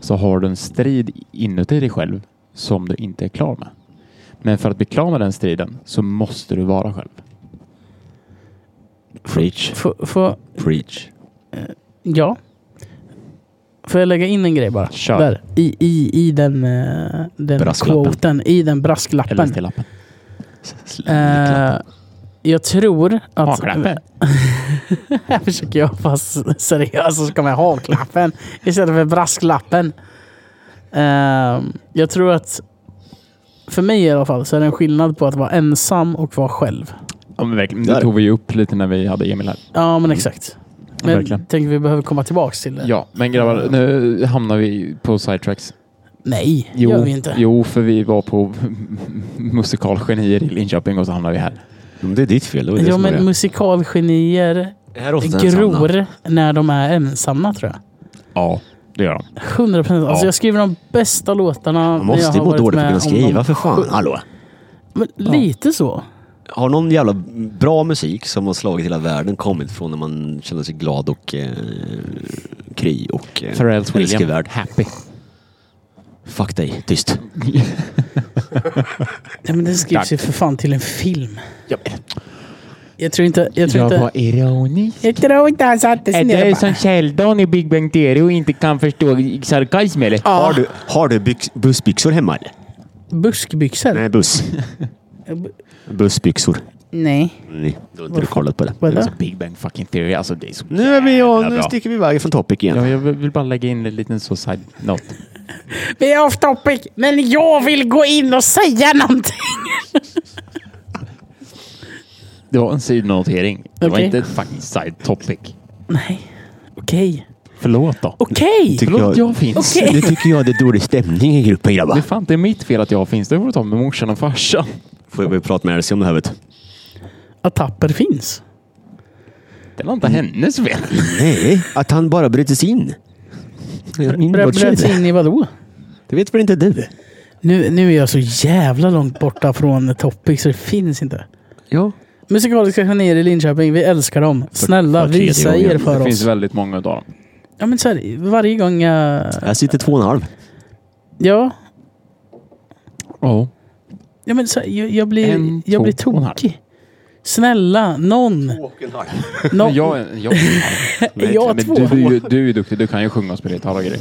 Speaker 3: så har du en strid inuti dig själv som du inte är klar med. Men för att bli klar med den striden så måste du vara själv.
Speaker 2: Preach.
Speaker 1: Får, får,
Speaker 2: Preach.
Speaker 1: ja. Får jag lägga in en grej bara?
Speaker 3: Kör.
Speaker 1: Där. I, i, i den, eh, den
Speaker 2: Brasklappen.
Speaker 1: quoten, i den
Speaker 3: Eller
Speaker 1: brasklappen.
Speaker 3: till lappen.
Speaker 1: Eh, jag tror att...
Speaker 3: Haklappen.
Speaker 1: Här försöker jag vara s- seriös och så kommer jag haklappen istället för brasklappen. Ehm, jag tror att, för mig i alla fall, så är det en skillnad på att vara ensam och vara själv.
Speaker 3: Ja, men verkligen.
Speaker 2: Där.
Speaker 3: Det tog vi ju upp lite när vi hade Emil här.
Speaker 1: Ja, men exakt. Men
Speaker 3: Mm. Verkligen.
Speaker 1: jag tänker vi behöver komma tillbaks till det.
Speaker 3: Ja, men grabbar, nu hamnar vi på sidetracks.
Speaker 1: Nej,
Speaker 3: Jo,
Speaker 1: gör vi inte.
Speaker 3: jo, för vi var på musikalgenier i Linköping och så hamnar vi här.
Speaker 2: Men det är ditt fel. Det var det
Speaker 1: Ja,
Speaker 2: som var
Speaker 1: men
Speaker 2: det.
Speaker 1: musikalgenier
Speaker 2: Det här är ofta ensamma.
Speaker 1: gror när de är ensamma tror jag.
Speaker 3: Ja, det gör de.
Speaker 1: 100 procent. Alltså
Speaker 2: Ja.
Speaker 1: jag skriver de bästa låtarna.
Speaker 2: Man måste
Speaker 1: jag
Speaker 2: ju
Speaker 1: har
Speaker 2: må
Speaker 1: varit
Speaker 2: dåligt för att
Speaker 1: med
Speaker 2: kunna
Speaker 1: om de-
Speaker 2: skriva för fan. Hallå.
Speaker 1: Men Lite så.
Speaker 2: Har någon jävla bra musik som har slagit hela världen kommit från när man känner sig glad och eh, kry och eh,
Speaker 3: Pharrell's
Speaker 2: älskevärd?
Speaker 3: Happy.
Speaker 2: Fuck dig, tyst.
Speaker 1: Ja, men det skrivs ju
Speaker 3: Tack.
Speaker 1: för fan till en film.
Speaker 3: Ja.
Speaker 1: Jag tror inte... Jag tror inte...
Speaker 3: ironisk.
Speaker 1: Jag tror inte han satte sig ner och bara...
Speaker 3: Sheldon i Big Bang Theory och inte kan förstå sarkasm eller?
Speaker 1: Ja.
Speaker 2: Har du, har du byx, bussbyxor hemma eller?
Speaker 1: Buskbyxor?
Speaker 2: Nej, buss.
Speaker 1: B-
Speaker 2: Bussbyxor.
Speaker 1: Nej.
Speaker 2: Nej, då har inte du kollat på det.
Speaker 1: Vad är
Speaker 3: Alltså
Speaker 1: det?
Speaker 3: Big Bang fucking Theory, alltså det är så
Speaker 2: Nu är vi
Speaker 3: jävla
Speaker 2: och, nu
Speaker 3: bra.
Speaker 2: sticker vi iväg från topic igen.
Speaker 3: Ja, jag vill vill bara lägga in en liten så side note.
Speaker 1: Vi är off topic, men jag vill gå in och säga någonting.
Speaker 3: Det var en sidonotering. Det var
Speaker 1: Okej.
Speaker 3: inte ett fucking side topic.
Speaker 1: Nej. Okej.
Speaker 3: Förlåt då.
Speaker 1: Okej!
Speaker 2: Tycker
Speaker 3: Förlåt, jag finns.
Speaker 1: Okej.
Speaker 2: Nu tycker jag det är dålig stämning i gruppen
Speaker 3: Det
Speaker 2: grabbar.
Speaker 3: är fan inte mitt fel att jag finns. Det får du ta med morsan och farsan.
Speaker 2: Får jag börja prata med Elsie om det här vet du?
Speaker 1: Att tapper finns.
Speaker 3: Det var inte hennes fel.
Speaker 2: Nej, att han bara bryter sig in. Min
Speaker 1: Bröt
Speaker 2: bortskämd.
Speaker 1: sig in i vadå?
Speaker 2: Det vet väl inte du?
Speaker 1: Nu, nu är jag så jävla långt borta från topic så det finns inte.
Speaker 2: Ja.
Speaker 1: Musikaliska genier i Linköping, vi älskar dem. Snälla,
Speaker 2: för tredje
Speaker 1: visa
Speaker 2: gången.
Speaker 1: er för
Speaker 3: Det
Speaker 1: oss.
Speaker 3: finns väldigt många utav dem.
Speaker 1: Ja, men så här, varje gång jag...
Speaker 2: Jag sitter två och en halv.
Speaker 1: Ja,
Speaker 3: Ja.
Speaker 1: Ja, men så, jag, jag blir,
Speaker 3: En,
Speaker 1: jag
Speaker 3: två
Speaker 1: blir
Speaker 3: och en halv.
Speaker 1: tokig. Snälla, någon.
Speaker 3: Men
Speaker 1: någon.
Speaker 3: jag, jag, jag,
Speaker 1: Jag
Speaker 3: men
Speaker 1: två.
Speaker 3: du, är ju, du är ju duktig. Du kan ju sjunga och spela gitarr och grejer.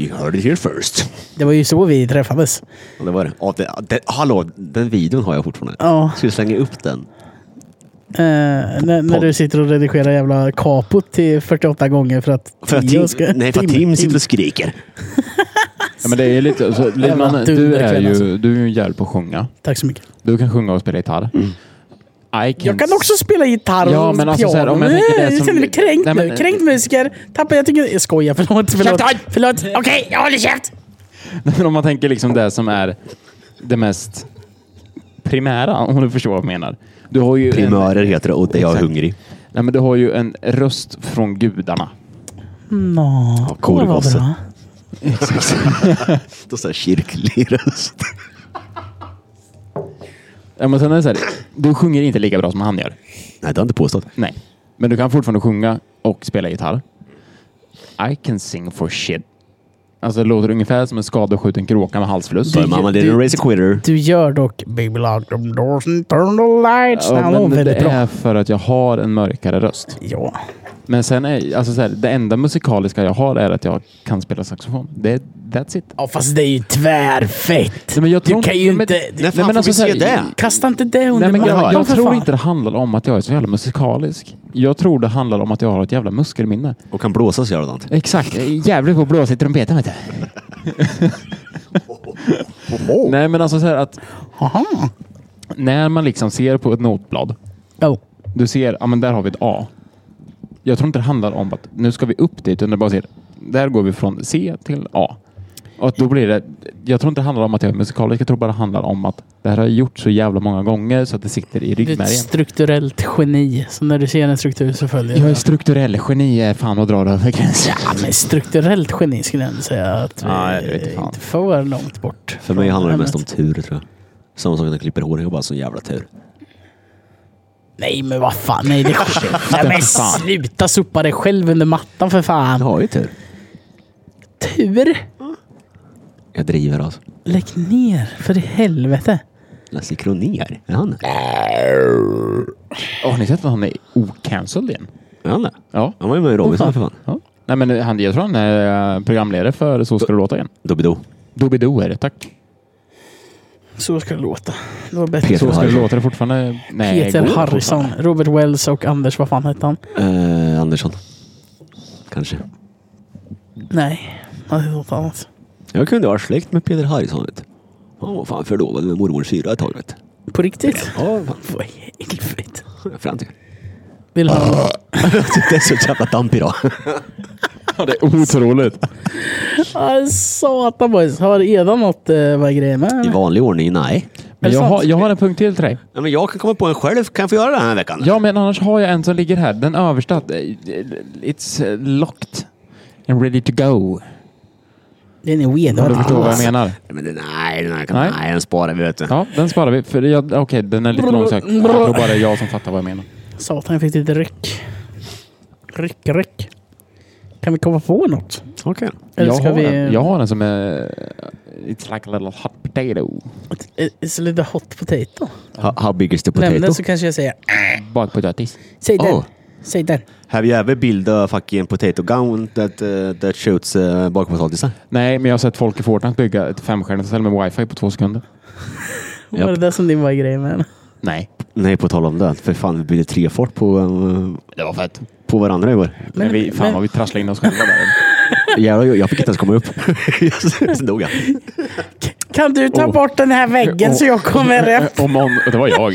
Speaker 2: You heard it here first.
Speaker 1: Det var ju så vi träffades.
Speaker 2: Ja, det var det. Ja, det, det. Hallå, den videon har jag fortfarande.
Speaker 1: Ja,
Speaker 2: Ska vi slänga upp den?
Speaker 1: eh, när, när
Speaker 2: Podd.
Speaker 1: du sitter och redigerar jävla kapot till 48 gånger för att...
Speaker 2: För att
Speaker 1: Tio
Speaker 2: Tim,
Speaker 1: ska-
Speaker 2: nej, för att Tim sitter och skriker.
Speaker 3: Ja, men det är lite, så,
Speaker 1: Jävla
Speaker 3: man, du,
Speaker 1: dunderkväll,
Speaker 3: är ju,
Speaker 1: alltså.
Speaker 3: du är ju en jävel på att sjunga.
Speaker 1: Tack så mycket.
Speaker 3: Du kan sjunga och spela gitarr. I can
Speaker 1: Jag kan också spela gitarr och
Speaker 3: Ja, men alltså så här,
Speaker 1: piano.
Speaker 3: om jag
Speaker 1: Nej,
Speaker 3: tänker det
Speaker 1: jag
Speaker 3: som-
Speaker 1: känner mig kränkt
Speaker 3: Nej, men-
Speaker 1: nu. Kränkt musiker. Tappa, jag tycker... Jag skojar, förlåt. Förlåt.
Speaker 3: Käften!
Speaker 1: förlåt. Okej, jag håller käft.
Speaker 3: Men om man tänker liksom det som är det mest primära, om du förstår vad jag menar. Du har ju, en,
Speaker 2: Primörer heter det och det är jag
Speaker 3: Exakt.
Speaker 2: hungrig.
Speaker 3: nej, men du har ju en röst från gudarna.
Speaker 1: Nå,
Speaker 2: cool
Speaker 1: åh, vad
Speaker 2: gosse.
Speaker 1: bra.
Speaker 2: Då så här kyrklig röst.
Speaker 3: Ja, men sen är det så här, du sjunger inte lika bra som han gör.
Speaker 2: Nej, det har jag inte påstått.
Speaker 3: Nej. Men du kan fortfarande sjunga och spela gitarr. I can sing for shit. Alltså det låter ungefär som en skadeskjuten kråka med halsfluss.
Speaker 2: Så är mamma didn't raise a quitter.
Speaker 1: Du gör dock Baby Lock them doors and turn the lights
Speaker 3: Ja,
Speaker 1: down.
Speaker 3: men det
Speaker 1: Väldigt bra.
Speaker 3: är för att jag har en mörkare röst.
Speaker 1: Ja.
Speaker 3: Men sen är alltså så här, det enda musikaliska jag har är att jag kan spela saxofon. Det, that's it.
Speaker 1: Ja, fast det är ju tvärfett.
Speaker 3: Nej, men jag
Speaker 1: Du
Speaker 3: tror
Speaker 1: kan
Speaker 3: inte-
Speaker 1: ju
Speaker 3: men-
Speaker 1: inte...
Speaker 2: När fan
Speaker 3: Nej, men
Speaker 2: får vi
Speaker 3: alltså så
Speaker 2: se
Speaker 3: här-
Speaker 2: det?
Speaker 1: Kasta inte det under
Speaker 3: Nej, men jag,
Speaker 1: mattan
Speaker 3: jag
Speaker 1: för
Speaker 3: tror
Speaker 1: fan.
Speaker 3: inte det handlar om att jag är så jävla musikalisk. Jag tror det handlar om att jag har ett jävla muskelminne.
Speaker 2: Och kan blåsa så jävla dant.
Speaker 3: Exakt. Jag är Jävligt på att blåsa i trumpeten vet du. Nej men alltså så här att
Speaker 1: Aha.
Speaker 3: när man liksom ser på ett notblad.
Speaker 1: Oh.
Speaker 3: Du ser, ja men där har vi ett A. Jag tror inte det handlar om att nu ska vi upp dit utan det bara ser, där går vi från C till A. Och att då blir det, jag tror inte det handlar om att jag är musikalisk, jag tror bara det handlar om att det här har jag gjort så jävla många gånger så att det sitter i
Speaker 1: Du är ett
Speaker 3: ryggmärgen.
Speaker 1: strukturellt geni. Så när du ser en struktur så följer
Speaker 3: Jag är
Speaker 1: det.
Speaker 3: strukturell geni är fan att dra det över gränsen.
Speaker 1: Ja, men strukturellt geni skulle jag ändå säga att vi
Speaker 3: Ja, jag vet
Speaker 1: är
Speaker 3: fan.
Speaker 1: inte för långt bort.
Speaker 2: För mig handlar det mest om tur tror jag. Samma sak när jag klipper hår, jag har bara sån jävla tur.
Speaker 1: Nej men vad fan, nej det Nej men
Speaker 3: fan.
Speaker 1: sluta sopa dig själv under mattan för
Speaker 2: Jag
Speaker 1: fan.
Speaker 2: har ju tur.
Speaker 1: Tur?
Speaker 2: Jag driver alltså.
Speaker 1: Lägg ner, för i helvete.
Speaker 2: Lasse Kronér, är han det?
Speaker 3: Oh, har ni sett att han är ocancelled igen?
Speaker 2: Är han det?
Speaker 3: Ja.
Speaker 2: Han var ju med i Robinson för fan.
Speaker 3: ja. Nej, men han, jag tror han är eh, programledare för Så ska det låta igen.
Speaker 2: Doobidoo.
Speaker 3: Doobidoo är det, tack.
Speaker 1: Så ska det låta. Det var bättre.
Speaker 2: Peter
Speaker 3: Så ska det
Speaker 2: Harry.
Speaker 3: låta det fortfarande. Nej,
Speaker 1: Peter
Speaker 3: går det
Speaker 1: Harrison,
Speaker 3: fortfarande?
Speaker 1: Robert Wells och Anders, vad fan hette han?
Speaker 2: Eh, Andersson. Kanske.
Speaker 1: Nej, han hette något annat.
Speaker 2: Jag kunde vara släkt med Peter Harrison vet du. Han var fan förlovad med mormors syra ett tag vet du.
Speaker 1: På riktigt?
Speaker 2: Ja, fan.
Speaker 1: Vad i helvete.
Speaker 2: Fram till.
Speaker 1: Vill han,
Speaker 2: Det är så jävla damp idag.
Speaker 3: Ja, det är otroligt.
Speaker 1: Aj, satan boys. Har Eda något eh, vad är grejen med?
Speaker 2: I
Speaker 1: eller?
Speaker 2: vanlig ordning, nej.
Speaker 1: Är
Speaker 3: Men
Speaker 1: det
Speaker 3: jag,
Speaker 1: sant?
Speaker 3: har, jag har en punkt till till dig.
Speaker 2: Ja, men jag kan komma på en själv. Kan jag få göra det den här veckan?
Speaker 3: Ja, men annars har jag en som ligger här. Den översta. eh, It's eh, locked. And ready to go.
Speaker 1: Den är weird.
Speaker 3: Om du förstår vad jag menar.
Speaker 2: Nej, Men den, nej, den här kan,
Speaker 3: Nej.
Speaker 2: nej. den sparar vi vet du.
Speaker 3: Ja, den sparar vi. För jag, okej, den är lite långsökt. Jag tror bara det är jag som fattar vad jag menar.
Speaker 1: Satan, jag fick lite ryck. Ryck, ryck. Kan vi komma på något?
Speaker 2: Okej.
Speaker 1: Eller
Speaker 3: Jag
Speaker 1: ska
Speaker 3: har,
Speaker 1: vi...
Speaker 3: en. jag har en som är... eh, It's like a little hot potato.
Speaker 1: It's a little eh, hot potato.
Speaker 2: How, how big is the
Speaker 1: Nämn
Speaker 2: potato?
Speaker 1: den så kanske jag säger...
Speaker 3: Bakpotatis.
Speaker 1: Säg den.
Speaker 2: Oh.
Speaker 1: Säg den.
Speaker 2: Have you ever built a fucking potato gun that, uh, that shoots uh, bakpotatisar?
Speaker 3: Nej, men jag har sett folk i Fortnite bygga ett femstjärnigt hotell med wifi på två sekunder.
Speaker 1: Var det det som din var grejen med?
Speaker 3: Nej.
Speaker 2: Nej, på tal om det. För fan, vi byggde tre fart på, eh,
Speaker 3: Det var fett.
Speaker 2: på varandra igår.
Speaker 3: Men, vi, fan
Speaker 1: men-
Speaker 3: vad vi trasslade in oss själva där.
Speaker 2: Jävlar, jag, jag fick inte ens komma upp. Sen dog jag.
Speaker 1: Kan du ta
Speaker 3: Oh.
Speaker 1: bort den här väggen så jag kommer upp?
Speaker 3: Och mon, och det var jag.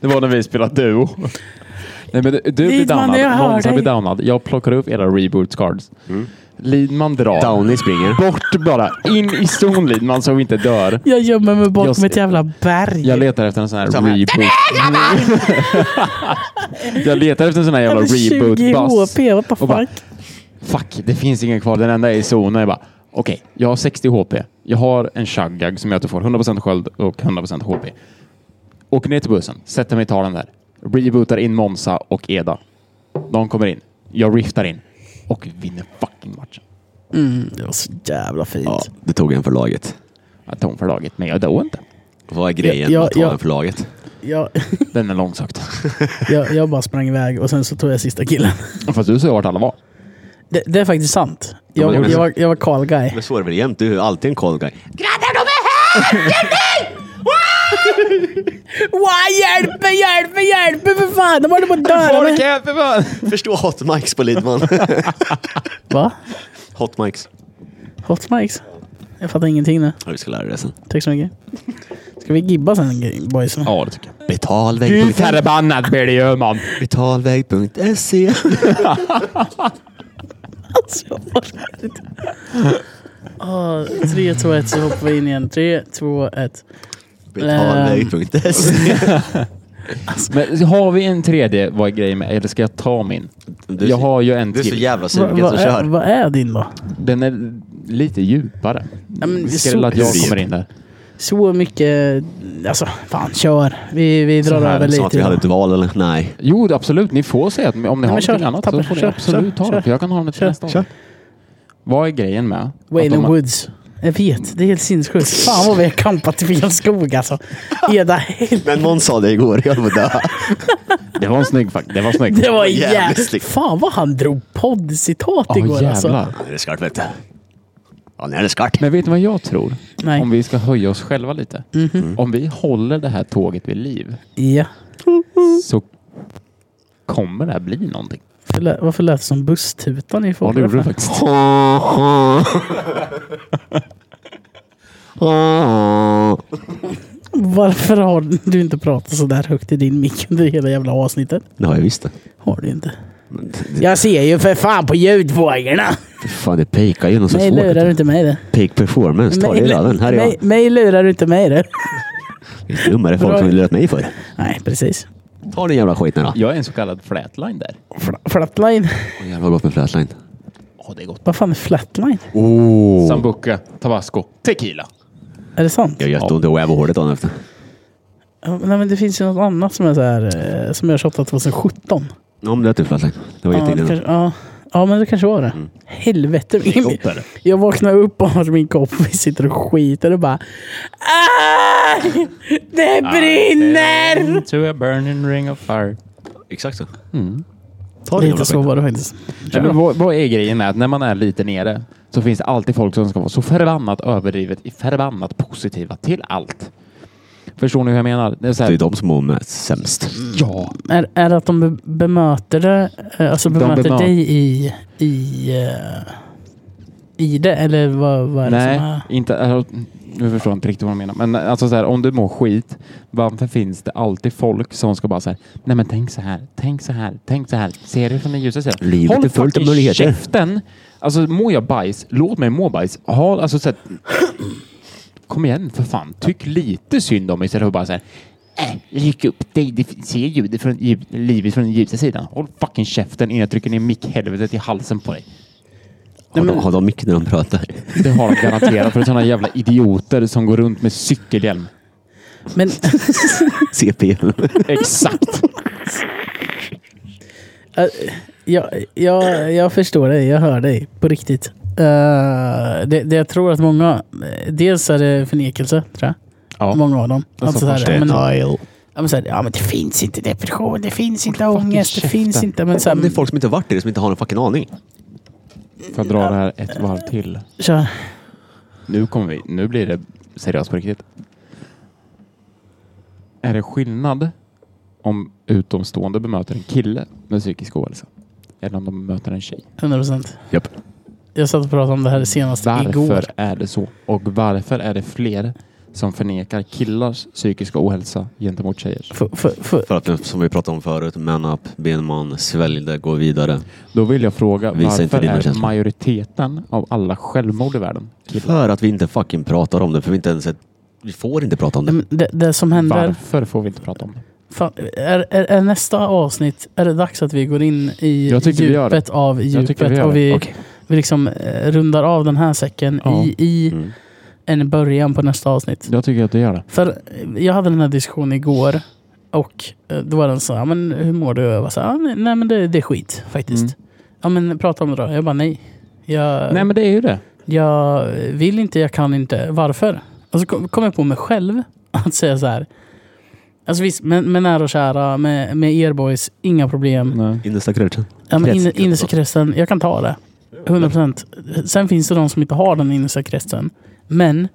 Speaker 3: det var när vi spelade Duo. Nej, men du- du blir
Speaker 1: Lidman, jag
Speaker 3: downad.
Speaker 1: hör
Speaker 3: Monza
Speaker 1: dig.
Speaker 3: blir downad. Jag plockar upp era reboot cards. Lidman drar.
Speaker 2: Downey springer.
Speaker 3: Bort bara. In i zon Lidman så vi inte dör.
Speaker 1: Jag gömmer mig
Speaker 3: Jag
Speaker 1: bakom
Speaker 3: ser-
Speaker 1: ett jävla berg.
Speaker 3: Jag letar efter en sån här
Speaker 2: Så här.
Speaker 3: reboot. jag letar efter en sån här jävla
Speaker 1: Eller 20
Speaker 3: reboot-buss.
Speaker 1: HP, what the
Speaker 3: Och bara,
Speaker 1: fuck?
Speaker 3: Fuck, det finns ingen kvar. Den enda är i zonen. Jag bara, okej, jag har 60 HP. Jag har en shaggag som gör att jag får 100% sköld och 100% HP. Åker ner till bussen, sätter mig i talen där. Rebootar in Monza och Eda. De kommer in. Jag riftar in. Och vinner fucking matchen.
Speaker 1: Det var så jävla fint.
Speaker 2: Ja, det tog en för laget.
Speaker 3: Jag tog för laget, men jag dog inte.
Speaker 2: Vad är grejen
Speaker 1: Ja,
Speaker 2: med att ta
Speaker 1: ja.
Speaker 2: en för laget?
Speaker 1: Jag,
Speaker 3: Den är långsökt.
Speaker 1: jag, jag bara sprang iväg och sen så tog jag sista killen.
Speaker 3: Fast du sa vart alla var.
Speaker 1: Det, det är faktiskt sant. Jag,
Speaker 2: Ja, men-
Speaker 1: jag, var, jag var Carl Guy.
Speaker 2: Men så är det väl jämt. Du är alltid en cold guy.
Speaker 1: Wow, hjälp mig, hjälp mig, hjälp mig för fan! De håller på att dö!
Speaker 3: Folk
Speaker 1: eller?
Speaker 3: är för fan!
Speaker 2: Förstå hot mics på Lidman.
Speaker 1: Va?
Speaker 2: hot mics.
Speaker 1: Hot mics? Jag fattar ingenting nu.
Speaker 2: Ja, vi ska lära dig det sen.
Speaker 1: Tack så mycket. Ska vi gibba sen boys?
Speaker 3: Ja, det tycker jag. Gud
Speaker 2: Betalväg.se
Speaker 3: förbannat blir det ju man.
Speaker 2: Betalväg.se
Speaker 1: Alltså, jag orkar inte. Ah, Tre, två, ett så hoppar vi in igen. Tre, två, ett.
Speaker 2: Betalväg.se
Speaker 3: Men har vi en tredje, vad är grejen med? Eller ska jag ta min?
Speaker 2: Du-
Speaker 3: jag har ju en
Speaker 2: Du är så
Speaker 3: till.
Speaker 2: jävla
Speaker 1: Va-
Speaker 2: sugen
Speaker 1: vad
Speaker 2: så
Speaker 1: är-
Speaker 2: kör.
Speaker 1: Vad är din då?
Speaker 3: Den är lite djupare.
Speaker 1: Ja, men
Speaker 3: Vi
Speaker 1: så-
Speaker 3: ska väl att jag
Speaker 2: Hur
Speaker 3: kommer in där.
Speaker 1: Så mycket... Alltså, fan kör. Vi, vi drar
Speaker 3: Så här,
Speaker 1: över
Speaker 2: Sa att
Speaker 1: lite.
Speaker 2: vi hade
Speaker 1: idag.
Speaker 2: ett
Speaker 3: typ
Speaker 2: val eller? Nej.
Speaker 3: Jo, absolut. Ni får säga att om ni har
Speaker 1: men
Speaker 3: något
Speaker 1: kör.
Speaker 3: annat
Speaker 1: Tapper,
Speaker 3: så får ni
Speaker 1: kör,
Speaker 3: absolut
Speaker 1: kör,
Speaker 3: ta det. För jag kan ha den till
Speaker 1: kör,
Speaker 3: nästa år. Vad är grejen med?
Speaker 1: Wayne
Speaker 3: att de-
Speaker 1: Woods. Jag vet, det är helt sinnessjukt. Fan vad vi har kampat i fel skog alltså. Eda helvete.
Speaker 2: Men Måns sa det igår. Jag höll på att dö.
Speaker 3: Det var en snygg faktiskt. Det var snygg.
Speaker 1: Det var
Speaker 2: jävligt
Speaker 1: jävligt.
Speaker 2: snyggt.
Speaker 1: Fan vad han drog poddcitat
Speaker 3: Åh,
Speaker 1: igår alltså.
Speaker 3: jävlar.
Speaker 2: Nu är det skarpt vet du. Ja, nu är det skarpt.
Speaker 3: Men vet ni vad jag tror?
Speaker 1: Nej. Mhm.
Speaker 3: Om vi ska höja oss själva lite. Om vi håller det här tåget vid liv
Speaker 1: Ja.
Speaker 3: så kommer det här bli någonting.
Speaker 1: Varför lät- Varför lät det som busstutan i
Speaker 3: Ja, det gjorde det
Speaker 1: förra?
Speaker 3: faktiskt.
Speaker 1: Varför har du inte pratat så där högt i din mick under hela jävla avsnittet?
Speaker 2: Det har jag visst det.
Speaker 1: Har du inte.
Speaker 2: Men det- det-
Speaker 1: Jag ser ju för fan på ljudvågorna.
Speaker 2: Fan, det pikar ju något så
Speaker 1: Nej,
Speaker 2: svårt.
Speaker 1: lurar du inte mig det?
Speaker 2: Peak performance, ta dig i röven. Här är jag.
Speaker 1: mig, mig lurar du inte mig det?
Speaker 2: Det är dummare folk
Speaker 1: Bra.
Speaker 2: som har lurat mig för.
Speaker 1: Nej, precis.
Speaker 2: Ta den jävla skiten då.
Speaker 3: Jag är en så kallad flatline där.
Speaker 1: Fla- Flatline.
Speaker 2: Åh, jävlar vad gott med flatline.
Speaker 3: Ja, det är gott.
Speaker 1: Vad fan är flatline?
Speaker 2: Oh.
Speaker 3: Sambuca, tabasco, tequila.
Speaker 1: Är det sant?
Speaker 2: Jag har jätteont i rävhålet dagen efter.
Speaker 1: Ja, men- Nej, men det finns ju något annat som är så här, eh, som jag shottat 2017.
Speaker 2: Ja, men det är typ flatline. Det var
Speaker 1: Ja, det
Speaker 2: jätteinnan.
Speaker 1: kanske, ja. Ja, men det kanske var det. Helvete. Min,
Speaker 3: Kopper.
Speaker 1: jag vaknar upp och har min kompis sitter och skiter och bara... Aj! Det brinner!
Speaker 3: To a burning ring of fire.
Speaker 2: Exakt så.
Speaker 3: Mm.
Speaker 2: Ta det
Speaker 1: Lite så var det faktiskt.
Speaker 3: Nej, men vad, vad är grejen med att när man är lite nere så finns det alltid folk som ska vara så förbannat överdrivet, förbannat positiva till allt. Förstår ni hur jag menar? Det är så
Speaker 2: Det är
Speaker 3: här,
Speaker 2: de som mår mest sämst.
Speaker 3: ja,
Speaker 1: Är, är det att de be- bemöter det, eh, alltså
Speaker 3: De
Speaker 1: bemöter
Speaker 3: bemö-
Speaker 1: dig i, i, eh, i det? Eller vad, vad är det
Speaker 3: nej,
Speaker 1: som är?
Speaker 3: inte, äh, nu förstår jag inte riktigt vad de menar. Men alltså så här, om du mår skit, varför finns det alltid folk som ska bara så här, nej men tänk så här, tänk så här, tänk så här, ser du från den ljusa sidan?
Speaker 2: Livet
Speaker 3: Håll
Speaker 2: är fullt av
Speaker 3: fucking
Speaker 2: möjligheter.
Speaker 3: käften! Alltså mår jag bajs, låt mig må bajs. Ha, alltså så här, kom igen för fan, tyck lite synd om mig istället för att bara så här, Äh, ryck upp dig, det f- ser ljudet från, ljud, livet från den ljusa sidan. Håll fucking käften innan jag trycker ner mickhelvetet i halsen på dig.
Speaker 2: Har de, har de mycket när de pratar?
Speaker 3: Det har de garanterat för det är sådana jävla idioter som går runt med cykelhjälm.
Speaker 1: Men,
Speaker 2: CP.
Speaker 3: Exakt!
Speaker 1: eh, jag, jag, jag förstår dig, jag hör dig på riktigt. Eh, det, det jag tror att många, eh, dels är det förnekelse tror jag.
Speaker 3: Ja.
Speaker 1: Många av dem. Alltså, så här, ja, men, ja,
Speaker 2: Denial.
Speaker 1: men så här, ja men det finns inte depression, det finns inte ångest, det finns
Speaker 3: käften.
Speaker 1: inte... Men så
Speaker 2: Om det är
Speaker 1: här,
Speaker 2: folk som inte har varit i det, som inte har en fucking aning.
Speaker 3: Får jag dra det här ett varv till?
Speaker 1: kör.
Speaker 3: Nu kommer vi. Nu blir det seriöst på riktigt. Är det skillnad om utomstående bemöter en kille med psykisk ohälsa? Eller om de bemöter en tjej?
Speaker 1: 100 procent.
Speaker 2: Japp.
Speaker 1: Jag satt och pratade om det här senast Alltså, igår.
Speaker 3: Varför är det så? Och varför är det fler som förnekar killars psykiska ohälsa gentemot tjejers?
Speaker 1: För, för, för,
Speaker 2: För att, eh, som vi pratade om förut, man up, be en man, svälj det, gå vidare.
Speaker 3: Då vill jag fråga,
Speaker 2: Visa inte
Speaker 3: varför
Speaker 2: dina
Speaker 3: är
Speaker 2: känslor.
Speaker 3: majoriteten av alla självmord i världen killar?
Speaker 2: För att vi inte fucking pratar om det, för vi inte ens... Ett, vi får inte prata om
Speaker 1: Nej,
Speaker 2: det.
Speaker 1: men det, det som händer...
Speaker 3: Varför får vi inte prata om det?
Speaker 1: Fan, är, är, är nästa avsnitt, är det dags att vi går in i
Speaker 3: Jag tycker vi gör det.
Speaker 1: djupet av
Speaker 3: Jag
Speaker 1: djupet
Speaker 3: tycker vi gör
Speaker 1: och
Speaker 3: det.
Speaker 1: vi,
Speaker 2: Okej.
Speaker 1: vi liksom eh, rundar av den här säcken
Speaker 3: Ja.
Speaker 1: i, i
Speaker 2: Mm.
Speaker 1: en början på nästa avsnitt.
Speaker 3: Jag tycker att du gör det.
Speaker 1: För eh, jag hade den här diskussionen igår och eh, då var den så här, "Ja, men hur mår du? Jag var så här, "Ja, nej, nej men det, det är skit faktiskt.
Speaker 3: Mm.
Speaker 1: Ja men prata om det då. Jag bara nej. Jag,
Speaker 3: Nej men det är ju det.
Speaker 1: jag vill inte, jag kan inte. Varför? Och så kom kom jag på mig själv att säga så här. Alltså visst, med, med nära och kära, med, med er boys, inga problem.
Speaker 2: Innersta kretsen.
Speaker 1: Ja, men inne-
Speaker 2: Krets-
Speaker 1: innersta kretsen, jag kan ta det. 100%. Sen finns det de som inte har den innersta kretsen. Men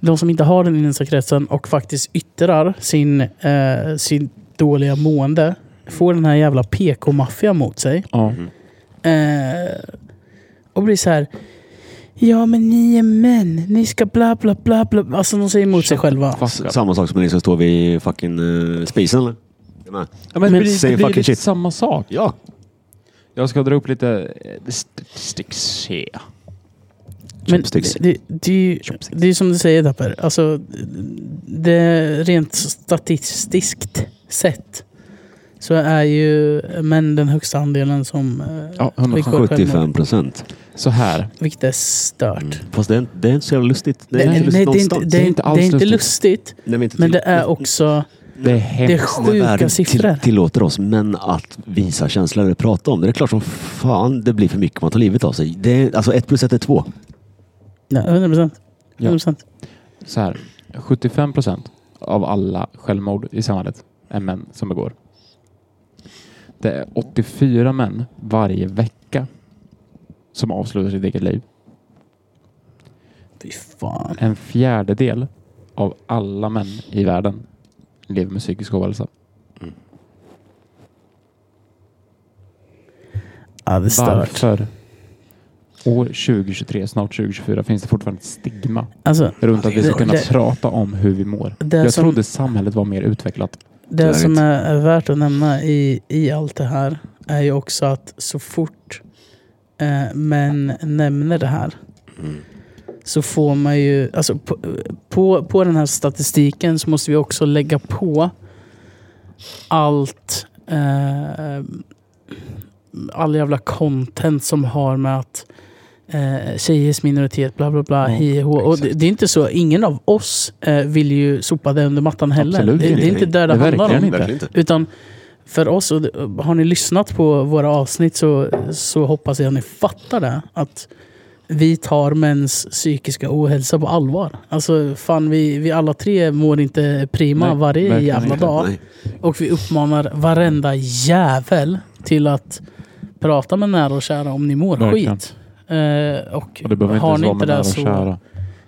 Speaker 1: de som inte har den innersta kretsen och faktiskt yttrar sin, eh, sin dåliga mående får den här jävla PK-maffian mot sig.
Speaker 3: Ja.
Speaker 1: Eh, och blir så här. Ja men ni är män, ni ska bla bla bla bla. Alltså de säger emot sig själva.
Speaker 2: S- Samma sak som när ni som står vid fucking eh, spisen eller? Jag menar,
Speaker 3: Ja,
Speaker 1: Men-
Speaker 3: men, det blir,
Speaker 2: Same
Speaker 3: det blir
Speaker 2: fucking
Speaker 3: lite
Speaker 2: shit.
Speaker 3: samma sak.
Speaker 2: Ja.
Speaker 3: Jag ska dra upp lite eh, statistik. se.
Speaker 1: Men
Speaker 2: Chopsticks.
Speaker 1: det, det, är ju- det är ju som du säger Dapper. Alltså, det, rent statistiskt sett så är ju män den högsta andelen som... eh,
Speaker 3: Ja, 100%.
Speaker 1: begår självmord,
Speaker 2: 75 procent. Mm.
Speaker 3: Så här.
Speaker 1: Vilket är stört.
Speaker 3: Mm.
Speaker 2: Fast det är, inte- det är inte så jävla lustigt. Det är
Speaker 1: Nej,
Speaker 2: inte lustigt
Speaker 1: nej, det, är inte,
Speaker 2: någonstans.
Speaker 1: det, är, inte det är inte
Speaker 3: alls
Speaker 1: lustigt,
Speaker 2: Nej, men inte
Speaker 1: men
Speaker 2: till-
Speaker 1: det är också...
Speaker 3: Det
Speaker 1: Det
Speaker 3: är
Speaker 1: är
Speaker 3: hemskt.
Speaker 2: När världen
Speaker 1: sjuka siffror.
Speaker 2: Till, tillåter oss män att visa känslor eller prata om det. Det är klart som fan det blir för mycket om man tar livet av sig. Det är, alltså ett plus ett är två.
Speaker 1: Nej, 100 procent.
Speaker 3: Ja.
Speaker 1: 100 procent.
Speaker 3: Så här. 75 procent av alla självmord i samhället är män som begår. Det är 84 män varje vecka som avslutar sitt eget liv.
Speaker 1: Fy fan.
Speaker 3: En fjärdedel av alla män i världen lever med psykisk ohälsa.
Speaker 1: Ja, det är stört.
Speaker 3: Varför? År 2023, snart 2024, finns det fortfarande ett stigma
Speaker 1: Alltså,
Speaker 3: runt att vi ska
Speaker 1: Det-
Speaker 3: kunna
Speaker 1: det-
Speaker 3: prata om hur vi mår.
Speaker 1: det
Speaker 3: Jag
Speaker 1: som-
Speaker 3: trodde samhället var mer utvecklat.
Speaker 1: Det
Speaker 2: Läget.
Speaker 1: som är, är värt att nämna i, i allt det här är ju också att så fort eh, män nämner det här
Speaker 3: Mm.
Speaker 1: så får man ju, alltså på, på, på den här statistiken så måste vi också lägga på allt, eh, all jävla content som har med att eh, tjejers minoritet, bla bla bla,
Speaker 3: Ja,
Speaker 1: hi hå. Och det,
Speaker 3: exakt.
Speaker 1: det är inte så, ingen av oss eh, vill ju sopa det under mattan heller.
Speaker 3: Absolut
Speaker 1: det, det är
Speaker 3: inte.
Speaker 1: inte där det,
Speaker 3: Det
Speaker 1: handlar
Speaker 3: verkligen
Speaker 1: om.
Speaker 3: inte.
Speaker 1: Utan för oss. Och det- har ni lyssnat på våra avsnitt så, så hoppas jag att ni fattar det. Att vi tar mäns psykiska ohälsa på allvar. Alltså fan, vi, vi alla tre mår inte prima
Speaker 3: Nej,
Speaker 1: varje
Speaker 3: verkligen
Speaker 1: jävla
Speaker 3: inte.
Speaker 1: dag.
Speaker 2: Nej.
Speaker 1: Och vi uppmanar varenda jävel till att prata med nära och kära om ni mår
Speaker 3: Verkligen.
Speaker 1: skit. Eh, och
Speaker 3: Och det behöver
Speaker 1: har
Speaker 3: inte
Speaker 1: ni
Speaker 3: ens
Speaker 1: inte
Speaker 3: vara med
Speaker 1: det så,
Speaker 3: nära och kära.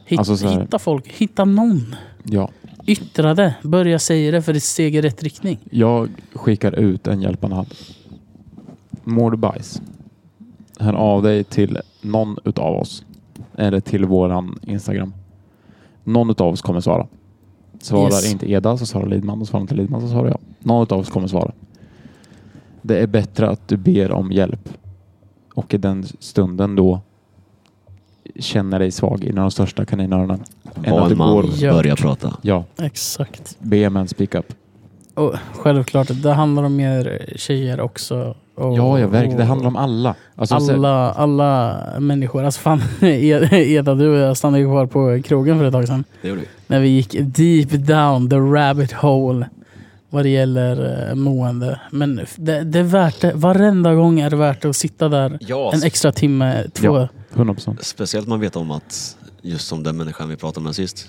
Speaker 1: hit,
Speaker 3: Alltså så här-
Speaker 1: hitta folk. Hitta någon.
Speaker 3: Ja.
Speaker 1: Yttra det. Börja säga det för det är ett steg i rätt riktning.
Speaker 3: Jag skickar ut en hjälpande hand. Mår du bajs? Hör av dig till någon utav oss. Eller till våran Instagram. Någon utav oss kommer svara. Svarar
Speaker 1: Yes.
Speaker 3: inte Eda så svarar Lidman och svarar inte Lidman så svarar jag. Någon utav oss kommer svara. Det är bättre att du ber om hjälp och i den stunden då känner dig svag innan de största kaninöronen. Än att
Speaker 2: Var
Speaker 3: det
Speaker 2: en man,
Speaker 3: går.
Speaker 1: Ja.
Speaker 2: börja prata.
Speaker 3: Ja,
Speaker 1: Exakt.
Speaker 3: be om en speak up.
Speaker 1: Och självklart, det handlar om er tjejer också. Och,
Speaker 3: Ja, ja verkligen. Det
Speaker 1: och
Speaker 3: handlar om alla. Alltså, så-
Speaker 1: alla, alla människor. Alltså fan, Eda, du och jag stannade ju kvar på krogen för ett tag sedan.
Speaker 2: Det gjorde vi.
Speaker 1: När vi gick deep down the rabbit hole vad det gäller eh, mående. Men f- det, det är värt det. Varenda gång är det värt att sitta där
Speaker 2: Ja,
Speaker 1: en extra timme, två.
Speaker 3: Alltså. Ja. 100 procent.
Speaker 2: Speciellt man vet om att, just som den människan vi pratade med sist,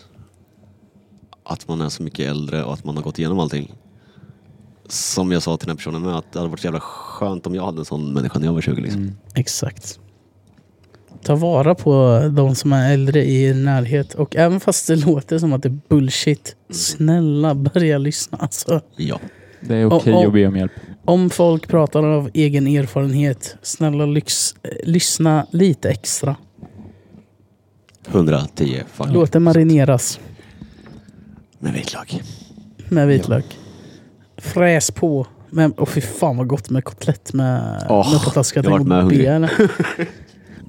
Speaker 2: att man är så mycket äldre och att man har gått igenom allting. Som jag sa till den här personen med, att det hade varit så jävla skönt om jag hade en sån människa när jag var 20 liksom.
Speaker 3: Mm.
Speaker 1: Exakt. Ta vara på de som är äldre i er närhet. Och även fast det låter som att det är bullshit, snälla börja lyssna. Alltså,
Speaker 2: Ja.
Speaker 3: Det är okej
Speaker 1: Och- och-
Speaker 3: att be om hjälp.
Speaker 1: om folk pratar av egen erfarenhet, snälla lyx, eh, lyssna lite extra.
Speaker 2: 110 fuck.
Speaker 1: Låt det marineras
Speaker 2: Med vitlök.
Speaker 1: med vitlök. Fräs på. Men, åh fy fan vad gott med kotlett med,
Speaker 2: Åh,
Speaker 1: med potatisgratäng
Speaker 2: jag har varit
Speaker 1: och
Speaker 2: med hungrig.
Speaker 1: bea, eller?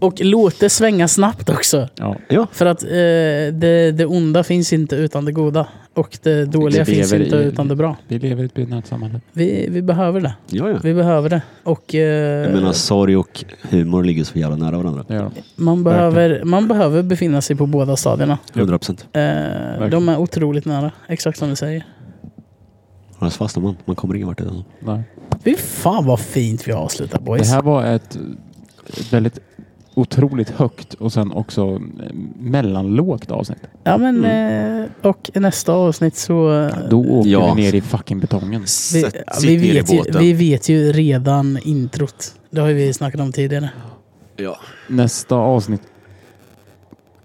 Speaker 1: Och låt det svänga snabbt också.
Speaker 3: Ja.
Speaker 2: Ja.
Speaker 1: För att eh, det, det onda finns inte utan det goda. Och det dåliga
Speaker 3: Det
Speaker 1: finns
Speaker 3: lever
Speaker 1: inte
Speaker 3: i-
Speaker 1: utan det bra.
Speaker 3: Vi lever i ett benärt samhälle.
Speaker 1: Vi, vi behöver det.
Speaker 2: Ja, ja.
Speaker 1: Vi behöver det. Och eh,
Speaker 2: Jag menar, sorg och humor ligger så jävla nära varandra.
Speaker 3: Det gör de.
Speaker 1: man, behöver, man behöver befinna sig på båda stadierna.
Speaker 2: 100 procent.
Speaker 1: Eh, de är otroligt nära. Exakt som du säger.
Speaker 2: Annars fastnar man. Man kommer ingen vart utan.
Speaker 3: Nej.
Speaker 1: Fy fan vad fint vi avslutar
Speaker 3: Det
Speaker 1: boys.
Speaker 3: här var ett väldigt otroligt högt och sen också eh, mellanlågt avsnitt.
Speaker 1: Ja, men,
Speaker 2: Mm.
Speaker 1: eh, och i nästa avsnitt så... eh,
Speaker 3: Då åker
Speaker 2: Ja.
Speaker 3: vi ner i fucking betongen.
Speaker 1: Vi,
Speaker 2: Sätt-
Speaker 1: ja,
Speaker 2: sitt
Speaker 1: vi,
Speaker 2: ner i
Speaker 1: vet ju,
Speaker 2: båten.
Speaker 1: vi vet ju redan introt. Det har ju vi snackat om tidigare.
Speaker 2: Ja.
Speaker 3: Nästa avsnitt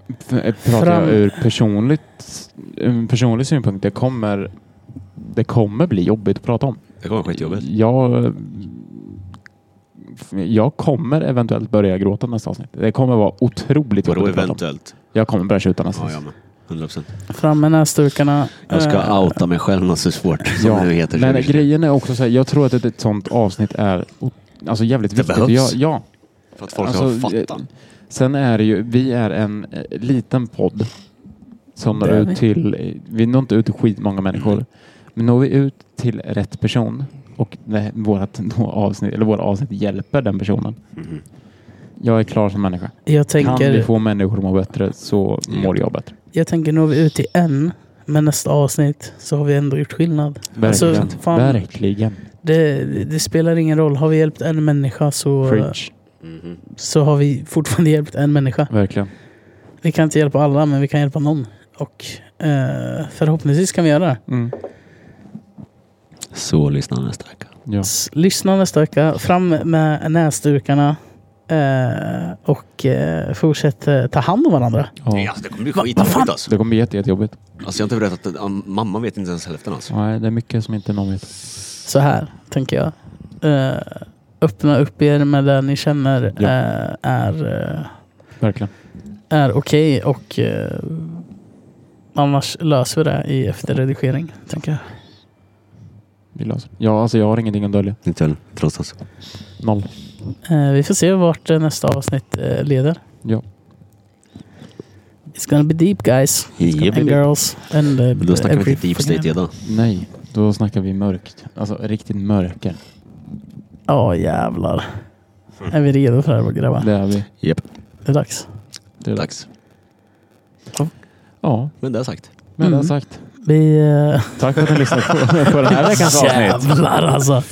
Speaker 3: f- eh, pratar
Speaker 1: Fram-
Speaker 3: jag ur personligt, ur personlig synpunkt. Det kommer, det kommer bli jobbigt att prata om.
Speaker 2: Det kommer vara skitjobbigt.
Speaker 3: Jag, jag kommer eventuellt börja gråta nästa avsnitt. Det kommer vara otroligt
Speaker 2: Vadå
Speaker 3: jobbigt att prata om.
Speaker 2: eventuellt?
Speaker 3: Jag kommer börja tjuta nästa
Speaker 2: Ja, jag
Speaker 3: avsnitt.
Speaker 2: med. 100 procent.
Speaker 1: Fram med näsdukarna.
Speaker 2: Jag
Speaker 1: Eh,
Speaker 2: ska outa mig själv något så svårt som det nu heter.
Speaker 3: Men grejen är också så här, jag tror att ett, ett sånt avsnitt är o- alltså jävligt
Speaker 2: Det
Speaker 3: viktigt.
Speaker 2: behövs.
Speaker 3: Ja, ja.
Speaker 2: För att folk
Speaker 3: Alltså,
Speaker 2: ska fatta.
Speaker 3: Sen är det ju, vi är en eh, liten podd som når
Speaker 1: Det är vi.
Speaker 3: ut till, eh, vi når inte ut till skitmånga människor. Men når vi ut till rätt person och det- vårat då avsnitt, eller våra avsnitt hjälper den personen.
Speaker 2: Mhm.
Speaker 3: Jag är klar som människa.
Speaker 1: Jag
Speaker 3: Kan vi
Speaker 1: tänker,
Speaker 3: få människor att må bättre så mår jag bättre.
Speaker 1: jag tänker når vi ut till en, men nästa avsnitt så har vi ändå gjort skillnad. Alltså,
Speaker 3: Verkligen.
Speaker 1: fan.
Speaker 3: Verkligen.
Speaker 1: Det, det spelar ingen roll. Har vi hjälpt en människa så,
Speaker 3: Preach.
Speaker 2: Mhm.
Speaker 1: så har vi fortfarande hjälpt en människa.
Speaker 3: Verkligen.
Speaker 1: Vi kan inte hjälpa alla, men vi kan hjälpa någon. Och eh, förhoppningsvis kan vi göra det.
Speaker 3: Mm.
Speaker 2: Så lyssna nästa vecka.
Speaker 3: Ja.
Speaker 1: S- Lyssna nästa vecka. Fram med näsdukarna. Eh, och eh, fortsätt eh, ta hand om varandra.
Speaker 3: Ja.
Speaker 2: det kommer bli
Speaker 1: Va- vad fan?
Speaker 2: alltså.
Speaker 3: Det kommer bli jätte- jättejobbigt.
Speaker 2: Alltså jag har inte berättat att ja, mamma vet inte ens hälften alltså.
Speaker 3: Nej, det är mycket som inte någon vet.
Speaker 1: Så här tänker jag. Eh, öppna upp er med det ni känner
Speaker 3: Ja.
Speaker 1: eh, är, eh,
Speaker 3: Verkligen.
Speaker 1: är okej och eh, annars löser vi det i efterredigering. Tänker jag.
Speaker 3: Vi löser det. Ja, alltså jag har ingenting att dölja.
Speaker 2: Inte heller, trots oss.
Speaker 3: Noll.
Speaker 1: Eh, vi får se vart eh, nästa avsnitt eh, leder.
Speaker 3: Ja.
Speaker 1: It's gonna be deep guys and girls. And, uh,
Speaker 2: Då snackar vi inte deep state redan.
Speaker 3: Nej, då snackar vi mörkt. Alltså riktigt mörker.
Speaker 1: Ja jävlar. Är vi redo för det här våra grabbar?
Speaker 3: Det är vi.
Speaker 2: Japp,
Speaker 1: Det är dags.
Speaker 3: Det är
Speaker 2: dags.
Speaker 3: Ja,
Speaker 2: Men det är sagt.
Speaker 3: men det
Speaker 1: Mm.
Speaker 3: är sagt.
Speaker 1: Vi... eh,
Speaker 3: Tack för att ni lyssnade på, på den här veckans avsnitt.
Speaker 1: Jävlar alltså.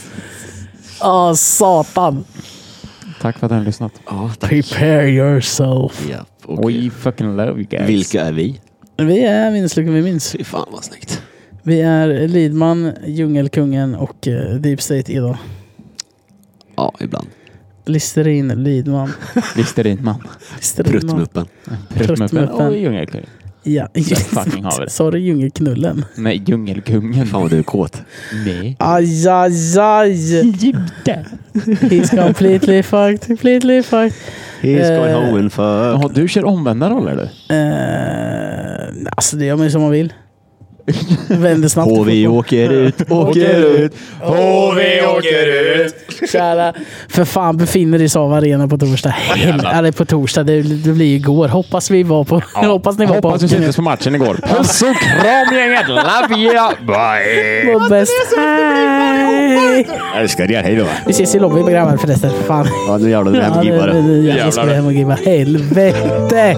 Speaker 1: Åh, satan.
Speaker 3: Tack för att ni har lyssnat.
Speaker 2: Ja, tack.
Speaker 1: Prepare yourself.
Speaker 2: Ja, och
Speaker 3: We fucking love you guys.
Speaker 2: Vilka är vi?
Speaker 1: Vi är Minns Lyckan Vi Minns.
Speaker 2: Fy fan vad snyggt.
Speaker 1: Vi är Lidman, Djungelkungen och eh, Deep State idag.
Speaker 2: Ja, ibland.
Speaker 1: Listerin, Lidman.
Speaker 3: Listerinman.
Speaker 1: Listerin,
Speaker 2: Pruttmuppen.
Speaker 3: Pruttmuppen.
Speaker 1: Pruttmuppen.
Speaker 3: Och djungelkungen.
Speaker 1: Ja.
Speaker 3: fucking har vi det.
Speaker 1: Sorry, Djungelknullen.
Speaker 3: Nej, djungelkungen.
Speaker 2: Fan vad du är kåt.
Speaker 3: Nej.
Speaker 1: Aj, aj, aj. He's completely fucked. Completely fucked.
Speaker 2: He's going
Speaker 1: Eh,
Speaker 2: home and fuck.
Speaker 3: Jaha, du kör omvända roller du?
Speaker 1: Uh, alltså det gör man ju som man vill. Vänder snabbt. i
Speaker 2: HV
Speaker 1: fotboll.
Speaker 2: åker ut, åker ut. HV åker ut.
Speaker 1: Kära. För fan befinner dig i Sava Arena på torsdag. Hel- eller på torsdag, det, det blir ju igår. Hoppas vi var på... hoppas ni var på
Speaker 3: Hoppas vi syntes på matchen igår. Puss och kram gänget! Love you! Bye!
Speaker 1: Må bäst. Hej!
Speaker 2: Älskar er, hejdå.
Speaker 1: Vi ses i lobbyn på Grabbar förresten. För fan.
Speaker 2: Ja, nu jävlar, du är
Speaker 1: Ja,
Speaker 2: hemgibbare.
Speaker 1: nu- nu- nu- nu ska vi hem och gibba. Helvete!